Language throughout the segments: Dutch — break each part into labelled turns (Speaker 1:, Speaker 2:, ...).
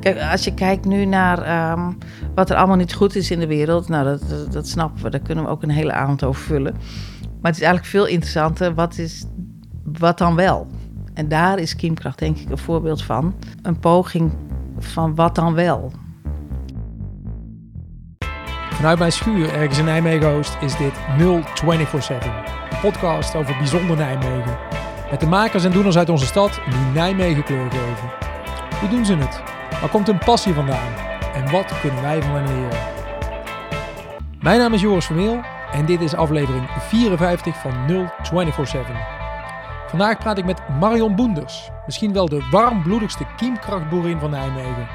Speaker 1: Kijk, als je kijkt nu naar ehm, wat er allemaal niet goed is in de wereld, nou, dat, dat, dat snappen we, daar kunnen we ook een hele avond over vullen. Maar het is eigenlijk veel interessanter, wat, is, wat dan wel? En daar is Kiemkracht denk ik een voorbeeld van. Een poging van wat dan wel?
Speaker 2: Vanuit mijn schuur ergens in Nijmegen Oost is dit 0247. Een podcast over bijzonder Nijmegen. Met de makers en doeners uit onze stad die Nijmegen kleur geven. Hoe doen ze het? Waar komt hun passie vandaan? En wat kunnen wij van hen leren? Mijn naam is Joris Vermeel en dit is aflevering 54 van 0247. Vandaag praat ik met Marion Boenders, misschien wel de warmbloedigste kiemkrachtboerin van Nijmegen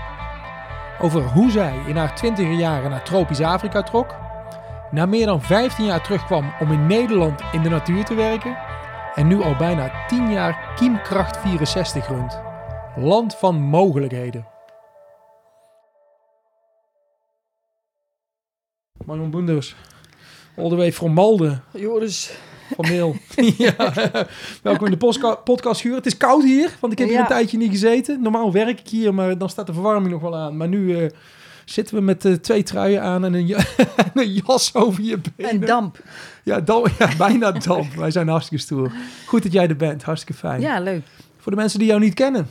Speaker 2: over hoe zij in haar twintiger jaren naar tropisch Afrika trok, na meer dan 15 jaar terugkwam om in Nederland in de natuur te werken en nu al bijna 10 jaar Kiemkracht 64 runt. Land van mogelijkheden. Marion Boenders, all the way from Malden,
Speaker 3: Joris.
Speaker 2: van Meel. ja. Welkom in de postka- podcastschuur. Het is koud hier, want ik heb hier een
Speaker 1: Ja.
Speaker 2: tijdje niet gezeten. Normaal werk ik hier, maar dan staat de verwarming nog wel aan. Maar nu eh, zitten we met eh, twee truien aan en een, ja- en een jas over je benen.
Speaker 1: Een damp.
Speaker 2: Ja, dam, ja, bijna damp. Wij zijn hartstikke stoer. Goed dat jij er bent, hartstikke fijn.
Speaker 1: Ja, leuk.
Speaker 2: Voor de mensen die jou niet kennen.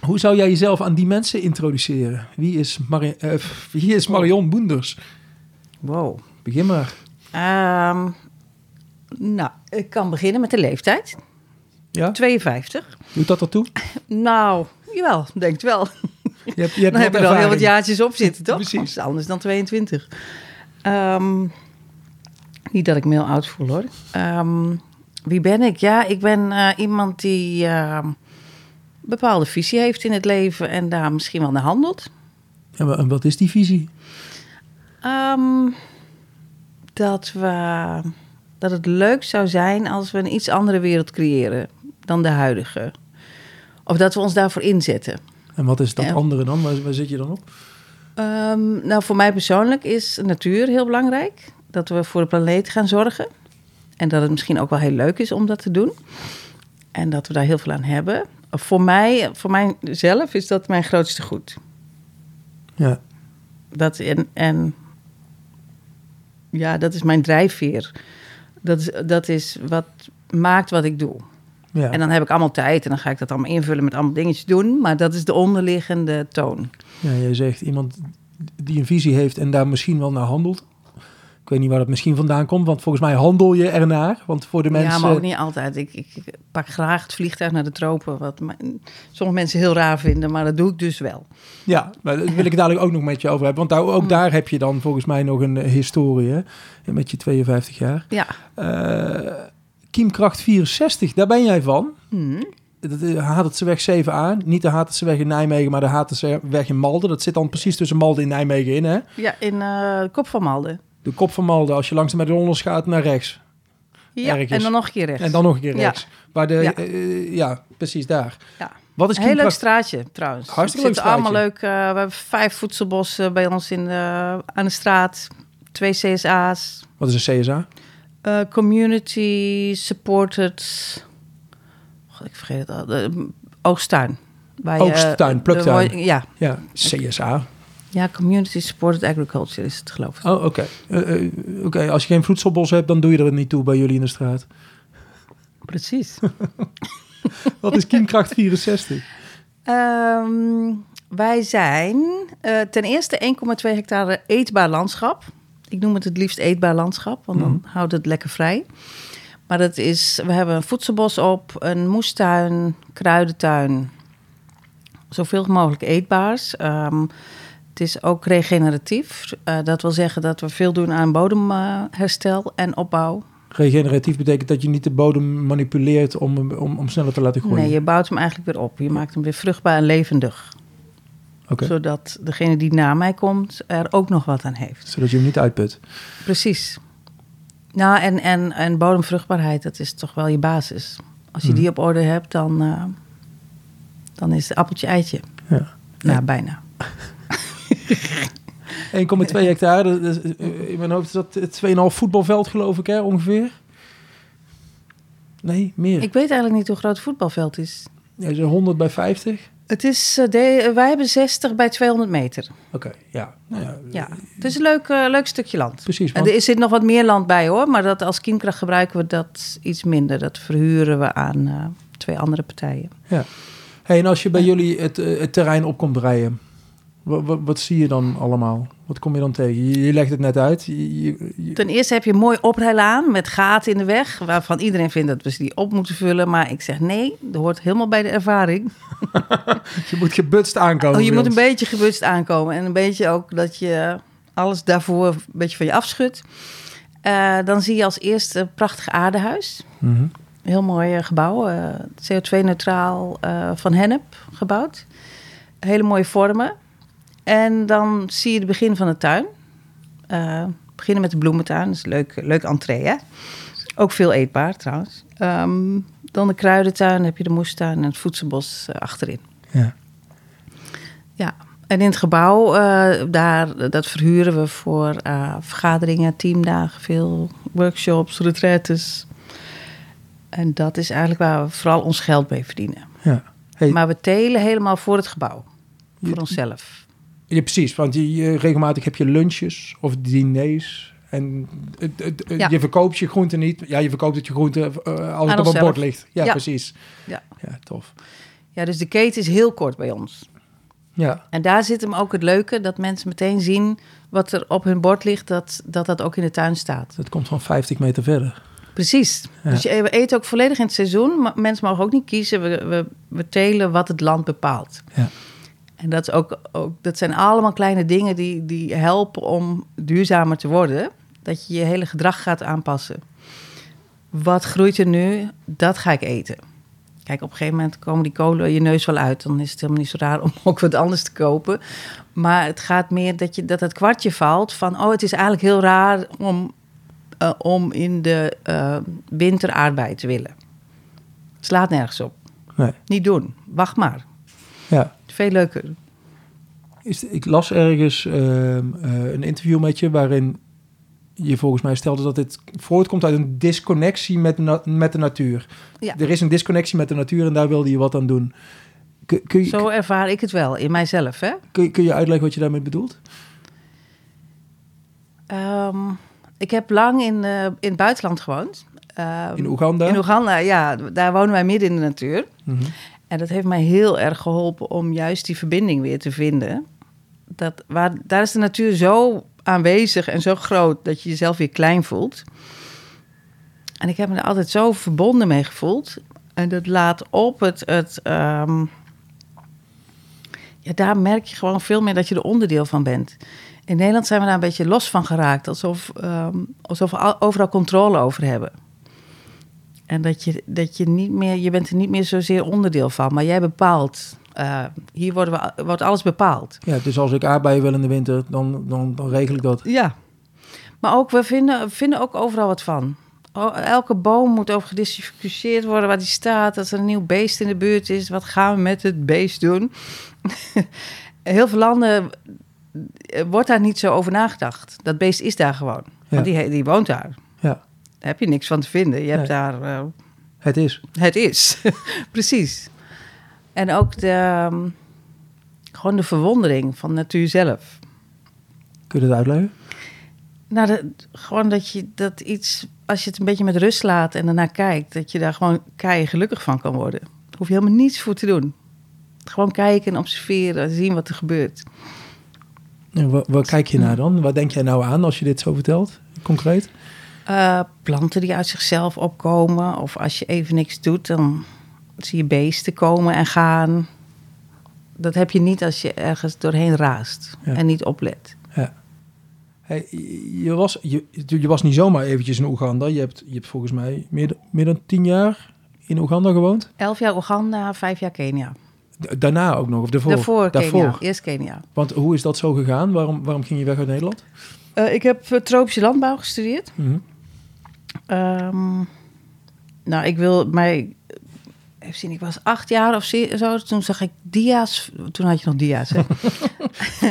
Speaker 2: Hoe zou jij jezelf aan die mensen introduceren? Wie is, Mari- eh, wie is Marion Boenders?
Speaker 1: Wow.
Speaker 2: Begin maar.
Speaker 1: Ehm, nou, ik kan beginnen met de leeftijd.
Speaker 2: Ja?
Speaker 1: 52.
Speaker 2: Doet dat ertoe?
Speaker 1: Nou, jawel, denkt wel.
Speaker 2: Je hebt, je hebt
Speaker 1: Dan heb je wel heel
Speaker 2: ervaring.
Speaker 1: wat jaartjes op zitten, toch?
Speaker 2: Precies.
Speaker 1: Dat is anders dan 22. Ehm, niet dat ik me heel oud voel, hoor. Ehm, wie ben ik? Ja, ik ben eh, iemand die ehm, een bepaalde visie heeft in het leven en daar misschien wel naar handelt.
Speaker 2: En wa- en wat is die visie?
Speaker 1: Ehm, dat, we, dat het leuk zou zijn als we een iets andere wereld creëren dan de huidige. Of dat we ons daarvoor inzetten.
Speaker 2: En wat is dat
Speaker 1: Ja.
Speaker 2: andere dan? Waar, waar zit je dan op?
Speaker 1: Ehm, nou, voor mij persoonlijk is natuur heel belangrijk. Dat we voor de planeet gaan zorgen. En dat het misschien ook wel heel leuk is om dat te doen. En dat we daar heel veel aan hebben. Voor mij, voor mijzelf is dat mijn grootste goed.
Speaker 2: Ja.
Speaker 1: Dat en, en ja, dat is mijn drijfveer. Dat is, dat is wat maakt wat ik doe.
Speaker 2: ja.
Speaker 1: En dan heb ik allemaal tijd en dan ga ik dat allemaal invullen met allemaal dingetjes doen. Maar dat is de onderliggende toon.
Speaker 2: ja, jij zegt iemand die een visie heeft en daar misschien wel naar handelt. Ik weet niet waar dat misschien vandaan komt, want volgens mij handel je ernaar. Want voor de mensen...
Speaker 1: Ja, maar ook niet altijd. Ik, ik ik pak graag het vliegtuig naar de tropen. Wat mijn- sommige mensen heel raar vinden, maar dat doe ik dus wel.
Speaker 2: Ja, maar daar wil ik het dadelijk ook nog met je over hebben. Want
Speaker 1: Mm.
Speaker 2: daar, ook daar heb je dan volgens mij nog een eh, historie, hè? Met je 52 jaar.
Speaker 1: Ja.
Speaker 2: Eh, Kiemkracht 64, daar ben jij van.
Speaker 1: Hm.
Speaker 2: Dat eh, is Hatertseweg 7a. Niet de Hatertseweg in Nijmegen, maar de Hatertseweg in Malden. Dat zit dan precies tussen Malden en Nijmegen in, hè?
Speaker 1: Ja, in eh, Kop van Malden.
Speaker 2: De kop van Malden, als je langs de McDonald's gaat, naar rechts.
Speaker 1: Ja,
Speaker 2: Ergens.
Speaker 1: en dan nog een keer rechts.
Speaker 2: En dan nog een keer
Speaker 1: Ja.
Speaker 2: rechts. Waar de, ja.
Speaker 1: Ja.
Speaker 2: ja, precies daar.
Speaker 1: Ja.
Speaker 2: Wat is
Speaker 1: Een heel leuk
Speaker 2: Kiemkracht...
Speaker 1: straatje trouwens.
Speaker 2: Hartstikke
Speaker 1: Er zitten
Speaker 2: leuk straatje.
Speaker 1: allemaal leuk. eh, we hebben vijf voedselbossen bij ons in de, aan de straat. Twee CSA's.
Speaker 2: Wat is een CSA?
Speaker 1: eh, community supported. God, ik vergeet het al. De, mm, oogstuin. Waar je, eh,
Speaker 2: Oogsttuin, pluktuin.
Speaker 1: de wo- ja.
Speaker 2: Ja, CSA.
Speaker 1: ja, community supported agriculture is het geloof ik.
Speaker 2: Oh, oké. Eh, eh, oké, als je geen voedselbos hebt, dan doe je er niet toe bij jullie in de straat.
Speaker 1: Precies.
Speaker 2: Wat is Kiemkracht 64?
Speaker 1: Ehm, wij zijn eh, ten eerste 1,2 hectare eetbaar landschap. Ik noem het het liefst eetbaar landschap, want dan houdt het lekker vrij. Maar dat is, we hebben een voedselbos op, een moestuin, kruidentuin. Zoveel mogelijk eetbaars. Ehm, het is ook regeneratief. Eh, dat wil zeggen dat we veel doen aan bodemherstel en opbouw.
Speaker 2: Regeneratief betekent dat je niet de bodem manipuleert om, hem- om, om sneller te laten groeien. Oh.
Speaker 1: Nee, je bouwt hem eigenlijk weer op. Je maakt hem weer vruchtbaar en levendig.
Speaker 2: Oké.
Speaker 1: Zodat degene die na mij komt er ook nog wat aan heeft.
Speaker 2: Zodat je hem niet uitput.
Speaker 1: Precies. Nou, en, en, en bodemvruchtbaarheid, dat is toch wel je basis. Als
Speaker 2: Mhm.
Speaker 1: je die op orde hebt, dan, eh, dan is het appeltje-eitje.
Speaker 2: Ja.
Speaker 1: Nou, bijna.
Speaker 2: 1,2 hectare, dat is, eh, in mijn hoofd is dat eh, 2,5 voetbalveld geloof ik hè, ongeveer. Nee, meer.
Speaker 1: Ik weet eigenlijk niet hoe groot het voetbalveld is.
Speaker 2: Ja, zo'n 100 bij 50.
Speaker 1: Het is, eh, de- wij hebben 60 bij 200 meter.
Speaker 2: Oké, ja. Nou ja,
Speaker 1: Ja, het is een leuk, eh, leuk stukje land.
Speaker 2: Precies,
Speaker 1: En
Speaker 2: want-
Speaker 1: er zit nog wat meer land bij hoor, maar dat als kiemkracht gebruiken we dat iets minder. Dat verhuren we aan eh, twee andere partijen.
Speaker 2: ja. Hey, en als je bij jullie het, eh, het terrein op komt rijden, wat, wat, zie je dan allemaal? Wat kom je dan tegen? Je, je legt het net uit. Je, je- je-
Speaker 1: Ten eerste heb je een mooi oprijlaan met gaten in de weg, waarvan iedereen vindt dat we ze die op moeten vullen. Maar ik zeg nee, dat hoort helemaal bij de ervaring.
Speaker 2: je moet gebutst aankomen.
Speaker 1: Oh, je
Speaker 2: bij
Speaker 1: moet een
Speaker 2: ons.
Speaker 1: beetje gebutst aankomen en een beetje ook dat je alles daarvoor een beetje van je afschudt. Eh, dan zie je als eerste een prachtig aardehuis.
Speaker 2: Mhm.
Speaker 1: Heel mooi eh, gebouw, eh, CO2-neutraal eh, van hennep gebouwd. Hele mooie vormen. En dan zie je het begin van de tuin. Eh, beginnen met de bloementuin, dat is een leuk, leuk entree hè. Ook veel eetbaar trouwens. Ehm, dan de kruidentuin, dan heb je de moestuin en het voedselbos eh, achterin.
Speaker 2: Ja.
Speaker 1: Ja, en in het gebouw, eh, daar, dat verhuren we voor eh, vergaderingen, teamdagen, veel workshops, retraites. En dat is eigenlijk waar we vooral ons geld mee verdienen.
Speaker 2: ja. Hey,
Speaker 1: Maar we telen helemaal voor het gebouw,
Speaker 2: Je-
Speaker 1: voor onszelf.
Speaker 2: Ja, precies. Want je, je- regelmatig heb je lunches of diners. En het, het- het-
Speaker 1: Ja.
Speaker 2: je verkoopt je groente niet. Ja, je verkoopt het je groente eh, als het op een
Speaker 1: onszelf.
Speaker 2: bord ligt. Ja,
Speaker 1: Ja.
Speaker 2: precies.
Speaker 1: Ja.
Speaker 2: Ja, tof.
Speaker 1: ja, dus de keten is heel kort bij ons.
Speaker 2: Ja,
Speaker 1: En daar zit hem ook het leuke, dat mensen meteen zien wat er op hun bord ligt, dat dat, dat ook in de tuin staat.
Speaker 2: dat komt van 50 meter verder.
Speaker 1: Precies.
Speaker 2: Ja.
Speaker 1: Dus je, we eten ook volledig in het seizoen. Maar mensen mogen ook niet kiezen. We, we, we telen wat het land bepaalt.
Speaker 2: Ja.
Speaker 1: En dat, is ook, ook, dat zijn allemaal kleine dingen die, die helpen om duurzamer te worden. Dat je je hele gedrag gaat aanpassen. Wat groeit er nu? Dat ga ik eten. Kijk, op een gegeven moment komen die kolen je neus wel uit. Dan is het helemaal niet zo raar om ook wat anders te kopen. Maar het gaat meer dat, je, dat het kwartje valt van... oh, het is eigenlijk heel raar om, eh, om in de eh, winter aardbei te willen. Het slaat nergens op.
Speaker 2: Nee.
Speaker 1: Niet doen. Wacht maar.
Speaker 2: Ja.
Speaker 1: Veel leuker.
Speaker 2: Is, ik las ergens ehm, eh, een interview met je waarin je volgens mij stelde dat dit voortkomt uit een disconnectie met, na- met de natuur.
Speaker 1: Ja.
Speaker 2: Er is een disconnectie met de natuur en daar wilde je wat aan doen. Kun, kun, je,
Speaker 1: Zo ervaar ik het wel in mijzelf, hè?
Speaker 2: kun, je- kun je uitleggen wat je daarmee bedoelt?
Speaker 1: Ehm, ik heb lang in, eh, in het buitenland gewoond. Ehm,
Speaker 2: In Oeganda?
Speaker 1: In Oeganda, ja. Daar wonen wij midden in de natuur.
Speaker 2: Mhm.
Speaker 1: En dat heeft mij heel erg geholpen om juist die verbinding weer te vinden. Dat, waar, daar is de natuur zo aanwezig en zo groot dat je jezelf weer klein voelt. En ik heb me er altijd zo verbonden mee gevoeld. En dat laat op het. het ehm, ja, daar merk je gewoon veel meer dat je er onderdeel van bent. In Nederland zijn we daar een beetje los van geraakt. Alsof, ehm, alsof we al- overal controle over hebben. En dat je, dat je niet meer, je bent er niet meer zozeer onderdeel van, maar jij bepaalt. eh, hier worden we, al- wordt alles bepaald.
Speaker 2: Ja, dus als ik aardbeien wil in de winter, dan, dan, dan regel ik dat.
Speaker 1: Ja. Maar ook, we vinden, vinden ook overal wat van. O- Elke boom moet over gediscussieerd worden waar die staat. Als er een nieuw beest in de buurt is, wat gaan we met het beest doen? Heel veel landen eh, wordt daar niet zo over nagedacht. Dat beest is daar gewoon. Want
Speaker 2: Ja.
Speaker 1: die, die woont daar.
Speaker 2: Ja,
Speaker 1: Daar heb je niks van te vinden. Je hebt
Speaker 2: Nee.
Speaker 1: daar eh,
Speaker 2: het is.
Speaker 1: het is. Precies. En ook de, ehm, gewoon de verwondering van natuur zelf.
Speaker 2: Kun je dat uitleggen?
Speaker 1: Nou, dat- gewoon dat je dat iets, als je het een beetje met rust laat en daarna kijkt, dat je daar gewoon kei gelukkig van kan worden. Daar hoef je helemaal niets voor te doen. Gewoon kijken en observeren, zien wat er gebeurt.
Speaker 2: En waar, waar kijk je naar dan? Waar denk jij nou aan als je dit zo vertelt, concreet?
Speaker 1: Eh, planten die uit zichzelf opkomen, of als je even niks doet, dan zie je beesten komen en gaan. Dat heb je niet als je ergens doorheen raast
Speaker 2: Ja.
Speaker 1: en niet oplet.
Speaker 2: Hey, je, was, je, je was niet zomaar eventjes in Oeganda. Je hebt, je hebt volgens mij meer, dan- meer dan tien jaar in Oeganda gewoond.
Speaker 1: Elf jaar Oeganda, vijf jaar Kenia.
Speaker 2: Da- Daarna ook nog, of daarvoor?
Speaker 1: Daarvoor Kenia, eerst Kenia.
Speaker 2: Want hoe is dat zo gegaan? Waarom, waarom ging je weg uit Nederland?
Speaker 1: Eh, ik heb eh, tropische landbouw gestudeerd.
Speaker 2: Mhm.
Speaker 1: Ehm, nou, ik wil mij. Even zien, ik was acht jaar of zi- zo. Toen zag ik dia's. Toen had je nog dia's. Hè?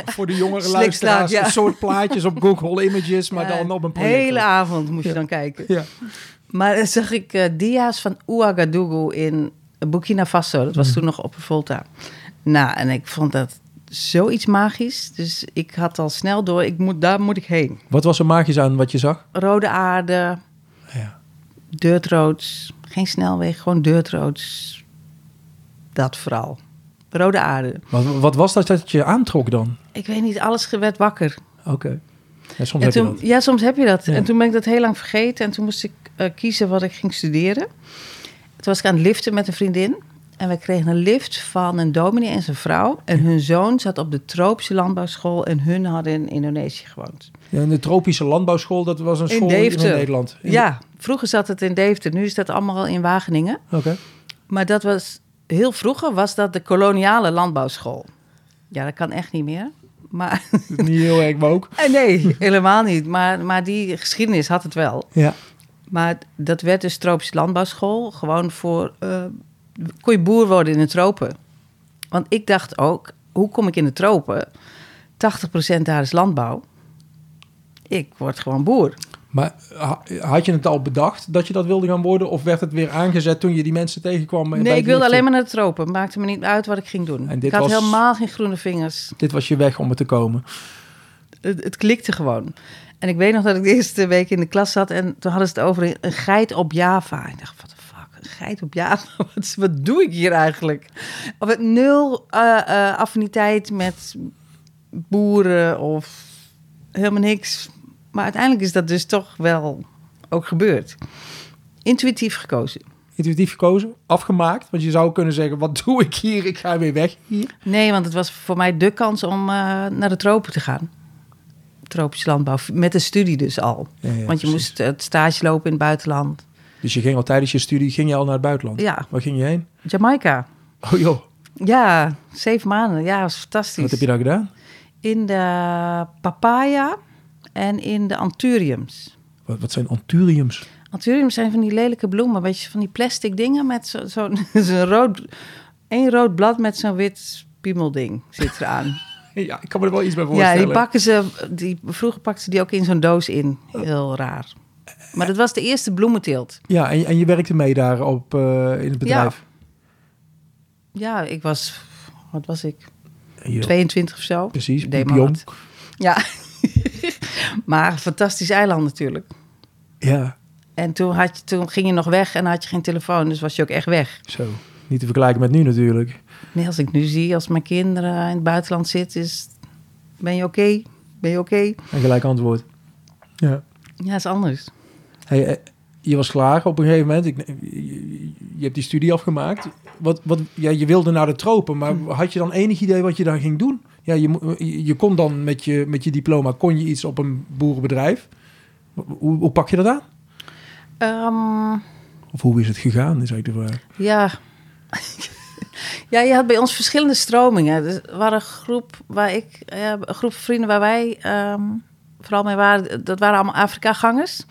Speaker 2: Voor de jongere
Speaker 1: Slikstaart,
Speaker 2: luisteraars,
Speaker 1: ja.
Speaker 2: een soort plaatjes op Google Images, maar dan op een
Speaker 1: De hele
Speaker 2: projector.
Speaker 1: avond moest je
Speaker 2: Ja.
Speaker 1: dan kijken.
Speaker 2: Ja.
Speaker 1: Maar dan zag ik
Speaker 2: Mhm.
Speaker 1: eh, dia's van Ouagadougou in Burkina Faso. Dat was toen nog Oppervolta. Nou, en ik vond dat zoiets magisch. Dus ik had al snel door, ik moet, daar moet ik heen.
Speaker 2: Wat was er magisch aan wat je zag?
Speaker 1: Rode aarde,
Speaker 2: Ja.
Speaker 1: deurtroods, geen snelweg, gewoon deurtroods. Dat vooral. Rode aarde.
Speaker 2: Wat, wat was dat dat je aantrok dan?
Speaker 1: Ik weet niet, alles werd wakker.
Speaker 2: Oké. Ja, soms
Speaker 1: En
Speaker 2: heb je
Speaker 1: toen,
Speaker 2: dat.
Speaker 1: ja, soms heb je dat.
Speaker 2: Ja.
Speaker 1: En toen ben ik dat heel lang vergeten. En toen moest ik eh, kiezen wat ik ging studeren. Toen was ik aan het liften met een vriendin. En we kregen een lift van een dominee en zijn vrouw. En hun zoon zat op de tropische landbouwschool. En hun hadden in Indonesië gewoond.
Speaker 2: Ja, en de tropische landbouwschool, dat was een
Speaker 1: In
Speaker 2: school
Speaker 1: Deventer.
Speaker 2: in Nederland. In-
Speaker 1: Ja, vroeger zat het in Deventer. Nu is dat allemaal in Wageningen.
Speaker 2: Oké.
Speaker 1: Maar dat was heel vroeger was dat de koloniale landbouwschool. Ja, dat kan echt niet meer. Maar
Speaker 2: Niet heel erg, maar ook.
Speaker 1: eh, nee, helemaal niet. Maar, maar die geschiedenis had het wel.
Speaker 2: Ja.
Speaker 1: Maar dat werd dus tropische landbouwschool. Gewoon voor. eh, kon je boer worden in de tropen? Want ik dacht ook, hoe kom ik in de tropen? 80% daar is landbouw. Ik word gewoon boer.
Speaker 2: Maar ha- had je het al bedacht dat je dat wilde gaan worden? Of werd het weer aangezet toen je die mensen tegenkwam?
Speaker 1: Nee, ik wilde alleen maar naar de tropen. Maakte me niet uit wat ik ging doen.
Speaker 2: En dit
Speaker 1: Ik had
Speaker 2: was-
Speaker 1: helemaal geen groene vingers.
Speaker 2: Dit was je weg om er te komen.
Speaker 1: Het, het klikte gewoon. En ik weet nog dat ik de eerste week in de klas zat en toen hadden ze het over een geit op Java. Ik dacht, wat de fuck, een geit op Java? Wat, is- wat doe ik hier eigenlijk? Of het nul eh, eh, affiniteit met boeren of helemaal niks. Maar uiteindelijk is dat dus toch wel ook gebeurd. Intuïtief gekozen.
Speaker 2: Intuïtief gekozen, afgemaakt. Want je zou kunnen zeggen, wat doe ik hier? Ik ga weer weg hier.
Speaker 1: Nee, want het was voor mij de kans om eh, naar de tropen te gaan. Tropisch landbouw, met de studie dus al.
Speaker 2: Ja, ja,
Speaker 1: Want je
Speaker 2: precies.
Speaker 1: moest het stage lopen in het buitenland.
Speaker 2: Dus je ging al tijdens je studie ging je al naar het buitenland?
Speaker 1: Ja.
Speaker 2: Waar ging je heen?
Speaker 1: Jamaica.
Speaker 2: Oh joh,
Speaker 1: Ja, zeven maanden. Ja, was fantastisch.
Speaker 2: wat heb je daar gedaan?
Speaker 1: In de papaya en in de anthuriums.
Speaker 2: Wat, wat zijn anturiums?
Speaker 1: Anthuriums zijn van die lelijke bloemen. Een beetje van die plastic dingen met zo- zo'n zo'n rood... één rood blad met zo'n wit piemelding zit eraan.
Speaker 2: Ja, ik kan me er wel iets bij
Speaker 1: ja,
Speaker 2: voorstellen.
Speaker 1: die pakken ze... Die, vroeger pakten ze die ook in zo'n doos in. Heel raar. Maar dat was de eerste bloementeelt.
Speaker 2: Ja, en, en je werkte mee daar op, eh, in het bedrijf?
Speaker 1: Ja, ik was... Wat was ik?
Speaker 2: Ja. Joh,
Speaker 1: 22 of zo.
Speaker 2: Precies,
Speaker 1: Deed maar
Speaker 2: pipion.
Speaker 1: wat. Ja. maar een fantastisch eiland natuurlijk.
Speaker 2: Ja,
Speaker 1: En toen, had je, toen ging je nog weg en had je geen telefoon, dus was je ook echt weg.
Speaker 2: zo. Niet te vergelijken met nu natuurlijk.
Speaker 1: Nee, als ik nu zie, als mijn kinderen in het buitenland zitten, is, ben je oké? Ben je oké?
Speaker 2: Een gelijk antwoord. Ja.
Speaker 1: Ja, is anders.
Speaker 2: Hey, eh, je was klaar op een gegeven moment. Ik, je, je hebt die studie afgemaakt. Wat, wat, ja, je wilde naar de tropen, maar
Speaker 1: Hm.
Speaker 2: had je dan enig idee wat je daar ging doen? Ja, je, mo- je je kon dan met je, met je diploma kon je iets op een boerenbedrijf. Hoe, hoe pak je dat aan?
Speaker 1: Ehm,
Speaker 2: Of hoe is het gegaan, is eigenlijk de vraag.
Speaker 1: ja. ja, je had bij ons verschillende stromingen. Dus er waren een groep, waar ik, eh, een groep vrienden waar wij ehm, vooral mee waren. Dat waren allemaal Afrika-gangers.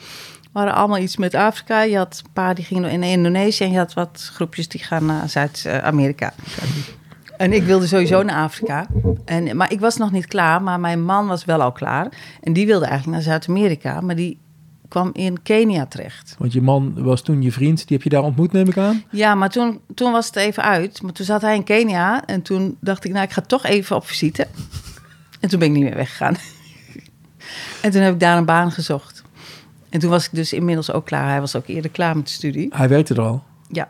Speaker 1: waren allemaal iets met Afrika. Je had een paar die gingen in Indonesië en je had wat groepjes die gaan naar Zuid-Amerika. En ik wilde sowieso naar Afrika. En, maar ik was nog niet klaar, maar mijn man was wel al klaar. En die wilde eigenlijk naar Zuid-Amerika, maar die kwam in Kenia terecht.
Speaker 2: Want je man was toen je vriend, die heb je daar ontmoet, neem ik aan.
Speaker 1: Ja, maar toen, toen was het even uit. Maar toen zat hij in Kenia en toen dacht ik, nou, ik ga toch even op visite. En toen ben ik niet meer weggegaan. En toen heb ik daar een baan gezocht. En toen was ik dus inmiddels ook klaar. Hij was ook eerder klaar met de studie.
Speaker 2: Hij werkte er al.
Speaker 1: Ja,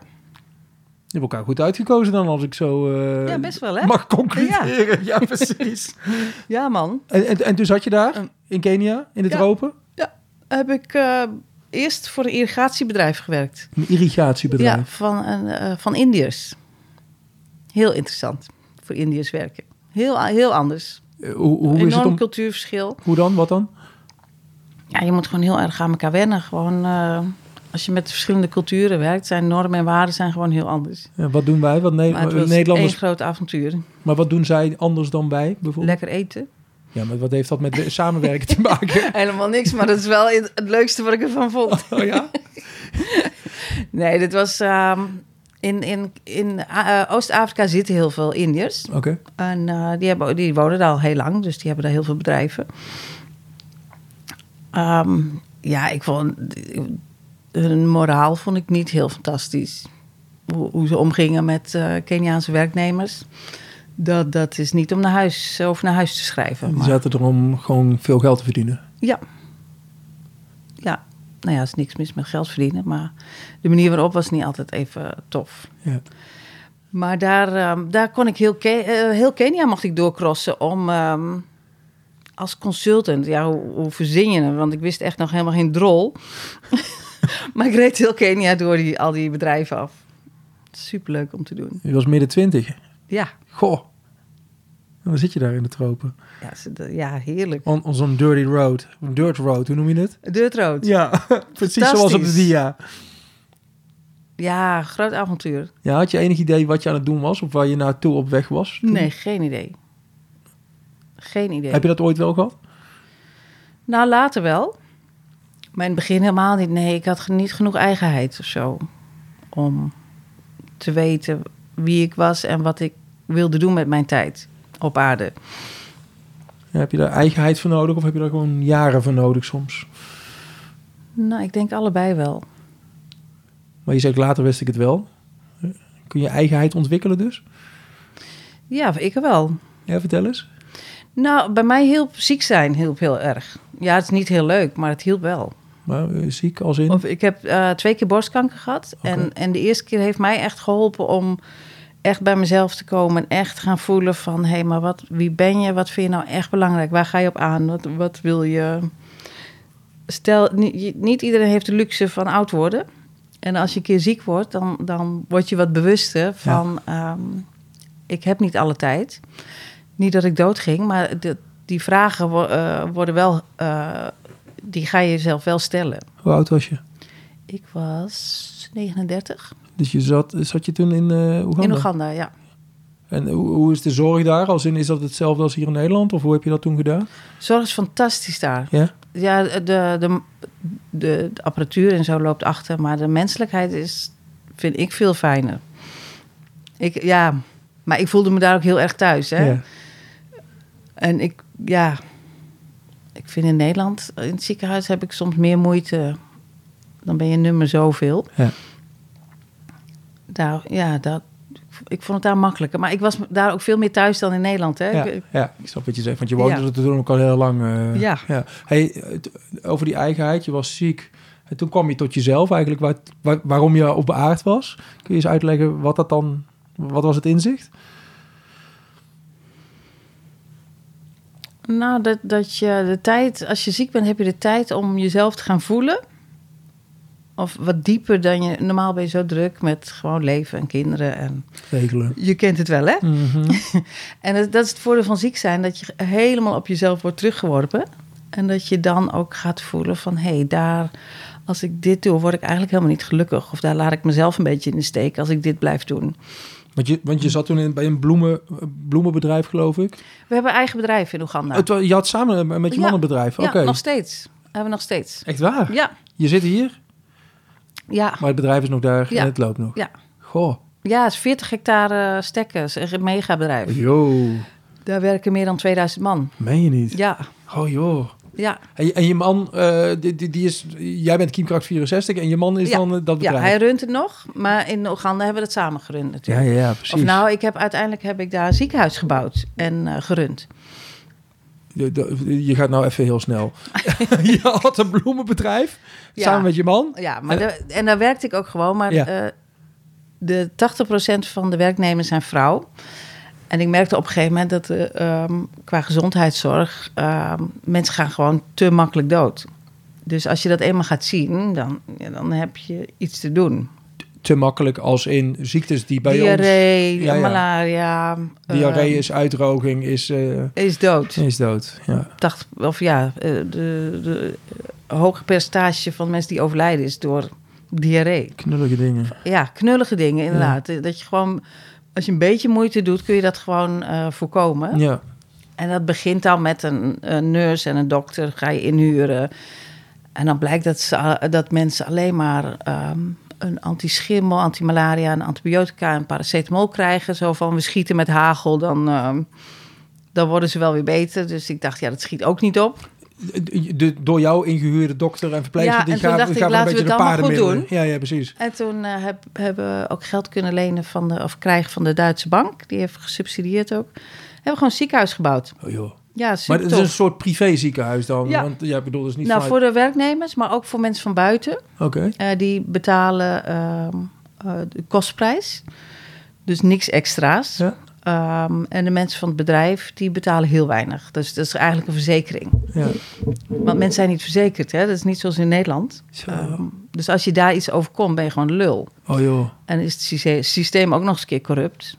Speaker 2: Je hebt elkaar goed uitgekozen dan, als ik zo eh,
Speaker 1: ja best wel, hè?
Speaker 2: mag concluderen. Ja, precies.
Speaker 1: Ja, man.
Speaker 2: en, en, en dus had je daar, in Kenia, in de
Speaker 1: Ja.
Speaker 2: tropen,
Speaker 1: Heb ik eh, eerst voor een irrigatiebedrijf gewerkt.
Speaker 2: een irrigatiebedrijf.
Speaker 1: Ja, van, een, eh, van Indiërs. Heel interessant voor Indiërs werken. Heel, heel anders.
Speaker 2: Eh, Hoe, hoe is het
Speaker 1: Enorm
Speaker 2: om...
Speaker 1: cultuurverschil.
Speaker 2: Hoe dan? Wat dan?
Speaker 1: Ja, je moet gewoon heel erg aan elkaar wennen. Gewoon, eh, als je met verschillende culturen werkt, zijn normen en waarden zijn gewoon heel anders.
Speaker 2: Ja, Eh, wat doen wij? Wat Ne-
Speaker 1: Maar het was
Speaker 2: Nederlanders,
Speaker 1: één groot avontuur.
Speaker 2: maar wat doen zij anders dan wij bijvoorbeeld?
Speaker 1: Lekker eten.
Speaker 2: Ja, maar wat heeft dat met de- samenwerken te maken?
Speaker 1: Helemaal niks, maar dat is wel het het leukste wat ik ervan vond.
Speaker 2: Oh ja?
Speaker 1: Nee, dit was... ehm, in in, in eh, Oost-Afrika zitten heel veel Indiërs.
Speaker 2: Oké.
Speaker 1: En eh, die, hebben, die wonen daar al heel lang, dus die hebben daar heel veel bedrijven. Ehm, ja, ik vond hun moraal vond ik niet heel fantastisch. Hoe, hoe ze omgingen met eh, Keniaanse werknemers. Dat, dat is niet om naar huis, over naar huis te schrijven.
Speaker 2: Die
Speaker 1: Maar,
Speaker 2: zaten er om gewoon veel geld te verdienen.
Speaker 1: ja. Ja. Nou ja, er is niks mis met geld verdienen. Maar de manier waarop was niet altijd even tof.
Speaker 2: Ja.
Speaker 1: Maar daar, ehm, daar kon ik heel, Ke- eh, heel Kenia mocht ik doorcrossen om ehm, als consultant. Ja, hoe, hoe verzin je het? Want ik wist echt nog helemaal geen drol. maar ik reed heel Kenia door die, al die bedrijven af. Superleuk om te doen.
Speaker 2: Je was midden twintig.
Speaker 1: Ja,
Speaker 2: Goh. En dan zit je daar in de tropen.
Speaker 1: ja, ze- de- ja heerlijk.
Speaker 2: On, on zo'n dirty road. Een dirt road, hoe noem je het?
Speaker 1: Deurtrood. Ja.
Speaker 2: Ja, precies zoals op de
Speaker 1: Fantastisch.
Speaker 2: dia.
Speaker 1: ja, groot avontuur.
Speaker 2: Ja, had je enig idee wat je aan het doen was? Of waar je naartoe op weg was? toen?
Speaker 1: Nee, geen idee. Geen idee.
Speaker 2: Heb je dat ooit wel gehad?
Speaker 1: Nou, later wel. Maar in het begin helemaal niet. Nee, ik had ge- niet genoeg eigenheid of zo. Om te weten wie ik was en wat ik wilde doen met mijn tijd op aarde.
Speaker 2: Ja, heb je daar eigenheid voor nodig? Of heb je daar gewoon jaren voor nodig soms?
Speaker 1: Nou, ik denk allebei wel.
Speaker 2: Maar je zegt later wist ik het wel. Kun je eigenheid ontwikkelen dus?
Speaker 1: Ja, ik wel.
Speaker 2: Ja, vertel eens.
Speaker 1: Nou, bij mij hielp ziek zijn hielp heel erg. Ja, het is niet heel leuk, maar het hielp wel.
Speaker 2: Maar eh, ziek als in?
Speaker 1: Of ik heb eh, twee keer borstkanker gehad.
Speaker 2: Oké.
Speaker 1: En, en de eerste keer heeft mij echt geholpen om echt bij mezelf te komen. En echt gaan voelen van, hé, maar wat, wie ben je? Wat vind je nou echt belangrijk? Waar ga je op aan? Wat, wat wil je? Stel, ni- je- niet iedereen heeft de luxe van oud worden. En als je een keer ziek wordt, dan, dan word je wat bewuster van... ehm, ik heb niet alle tijd. Niet dat ik doodging, maar de- die vragen wo- eh, worden wel... eh, die ga je jezelf wel stellen.
Speaker 2: Hoe oud was je?
Speaker 1: Ik was 39.
Speaker 2: Dus je zat, zat je toen in eh Oeganda?
Speaker 1: In Oeganda, ja.
Speaker 2: En hoe, hoe is de zorg daar? Als in, is dat hetzelfde als hier in Nederland? Of hoe heb je dat toen gedaan?
Speaker 1: Zorg is fantastisch daar.
Speaker 2: Ja?
Speaker 1: Ja, de, de, de, de apparatuur en zo loopt achter, maar de menselijkheid is, vind ik veel fijner. Ik, ja, maar ik voelde me daar ook heel erg thuis. Hè?
Speaker 2: Ja.
Speaker 1: En ik, ja, ik vind in Nederland, in het ziekenhuis heb ik soms meer moeite. Dan ben je nummer zoveel.
Speaker 2: Ja.
Speaker 1: Daar, ja, dat, ik vond het daar makkelijker. Maar ik was daar ook veel meer thuis dan in Nederland. Hè?
Speaker 2: Ja,
Speaker 1: Ik-
Speaker 2: ja, ik snap wat je zegt. Want je woonde
Speaker 1: Ja.
Speaker 2: er toen ook al heel lang. eh,
Speaker 1: Ja.
Speaker 2: Hey, het- over die eigenheid, je was ziek. En toen kwam je tot jezelf eigenlijk, waar, waar- waarom je op aard was. Kun je eens uitleggen wat dat dan... Wat was het inzicht?
Speaker 1: Nou, dat, dat je de tijd, als je ziek bent, heb je de tijd om jezelf te gaan voelen. Of wat dieper dan je. Normaal ben je zo druk met gewoon leven en kinderen. En
Speaker 2: Regelen.
Speaker 1: je kent het wel, hè?
Speaker 2: Mhm.
Speaker 1: En dat, dat is het voordeel van ziek zijn: dat je helemaal op jezelf wordt teruggeworpen. En dat je dan ook gaat voelen van hé, hey, daar, als ik dit doe, word ik eigenlijk helemaal niet gelukkig. Of daar laat ik mezelf een beetje in de steek als ik dit blijf doen.
Speaker 2: want, je, want je zat toen in, bij een bloemen, bloemenbedrijf, geloof ik.
Speaker 1: We hebben eigen bedrijf in Oeganda.
Speaker 2: Het wa- je had samen eh, met je
Speaker 1: Ja.
Speaker 2: mannenbedrijf. Oké.
Speaker 1: Ja, nog steeds. Hebben we nog steeds.
Speaker 2: Echt waar?
Speaker 1: Ja,
Speaker 2: Je zit hier,
Speaker 1: ja,
Speaker 2: maar het bedrijf is nog daar
Speaker 1: Ja.
Speaker 2: en het loopt nog.
Speaker 1: ja.
Speaker 2: Goh.
Speaker 1: Ja, het is 40 hectare stekkers, een
Speaker 2: Oh,
Speaker 1: megabedrijf.
Speaker 2: Yo,
Speaker 1: Daar werken meer dan 2000 man.
Speaker 2: meen je niet?
Speaker 1: Ja,
Speaker 2: Oh joh.
Speaker 1: ja.
Speaker 2: En je, en je man, eh, die, die, die is, jij bent Kiemkracht 64 en je man is
Speaker 1: ja.
Speaker 2: dan eh, dat bedrijf.
Speaker 1: Ja, hij runt het nog, maar in Oeganda hebben we het samen gerund
Speaker 2: ja,
Speaker 1: natuurlijk.
Speaker 2: ja, ja, precies.
Speaker 1: of nou, ik heb, uiteindelijk heb ik daar een ziekenhuis gebouwd en eh, gerund.
Speaker 2: De- de- je gaat nou even heel snel. je had een bloemenbedrijf
Speaker 1: Ja.
Speaker 2: samen met je man.
Speaker 1: Ja, maar de- en daar werkte ik ook gewoon. Maar
Speaker 2: Ja.
Speaker 1: eh, de 80% van de werknemers zijn vrouw. En ik merkte op een gegeven moment dat eh, ehm, qua gezondheidszorg... ehm, mensen gaan gewoon te makkelijk dood. Dus als je dat eenmaal gaat zien, dan, ja, dan heb je iets te doen.
Speaker 2: Te makkelijk als in ziektes die bij
Speaker 1: Diarree,
Speaker 2: ons... Ja, ja.
Speaker 1: malaria.
Speaker 2: Diarree
Speaker 1: ehm,
Speaker 2: is uitdroging, is, eh,
Speaker 1: is dood.
Speaker 2: is dood. Ja.
Speaker 1: 80, of ja, eh, de, de eh, hoge percentage van mensen die overlijden is door diarree.
Speaker 2: Knullige dingen.
Speaker 1: Ja, knullige dingen inderdaad. Dat je gewoon, als je een beetje moeite doet, kun je dat gewoon eh, voorkomen.
Speaker 2: Ja.
Speaker 1: En dat begint dan met een, een nurse en een dokter, ga je inhuren. En dan blijkt dat, ze, eh, dat mensen alleen maar ehm een antischimmel, antimalaria, een antibiotica en paracetamol krijgen. Zo van, we schieten met hagel, dan, ehm, dan worden ze wel weer beter. Dus ik dacht, ja, dat schiet ook niet op.
Speaker 2: de door jou ingehuurde dokter en verpleegster...
Speaker 1: Ja,
Speaker 2: die
Speaker 1: en toen
Speaker 2: gaven,
Speaker 1: dacht ik,
Speaker 2: gaven een
Speaker 1: laten we
Speaker 2: beetje de
Speaker 1: het allemaal goed
Speaker 2: paarden Ja, ja, precies.
Speaker 1: En toen eh, heb, hebben we ook geld kunnen lenen van de, of krijgen van de Duitse bank. Die heeft gesubsidieerd ook. Hebben we gewoon een ziekenhuis gebouwd.
Speaker 2: Oh, joh.
Speaker 1: Ja,
Speaker 2: Maar
Speaker 1: super
Speaker 2: het is een soort privé ziekenhuis dan?
Speaker 1: Ja.
Speaker 2: Want jij ja, bedoelt dus niet
Speaker 1: Nou,
Speaker 2: vanuit-
Speaker 1: voor de werknemers, maar ook voor mensen van buiten.
Speaker 2: Oké.
Speaker 1: Eh, die betalen ehm, eh, de kostprijs. Dus niks extra's.
Speaker 2: Ja.
Speaker 1: Ehm, en de mensen van het bedrijf, die betalen heel weinig. Dus dat is eigenlijk een verzekering.
Speaker 2: Ja.
Speaker 1: Want mensen zijn niet verzekerd, hè? Dat is niet zoals in Nederland.
Speaker 2: Zo.
Speaker 1: Ehm, dus als je daar iets overkomt, ben je gewoon lul.
Speaker 2: Eh, Oh joh.
Speaker 1: En is het syse- systeem ook nog eens een keer corrupt.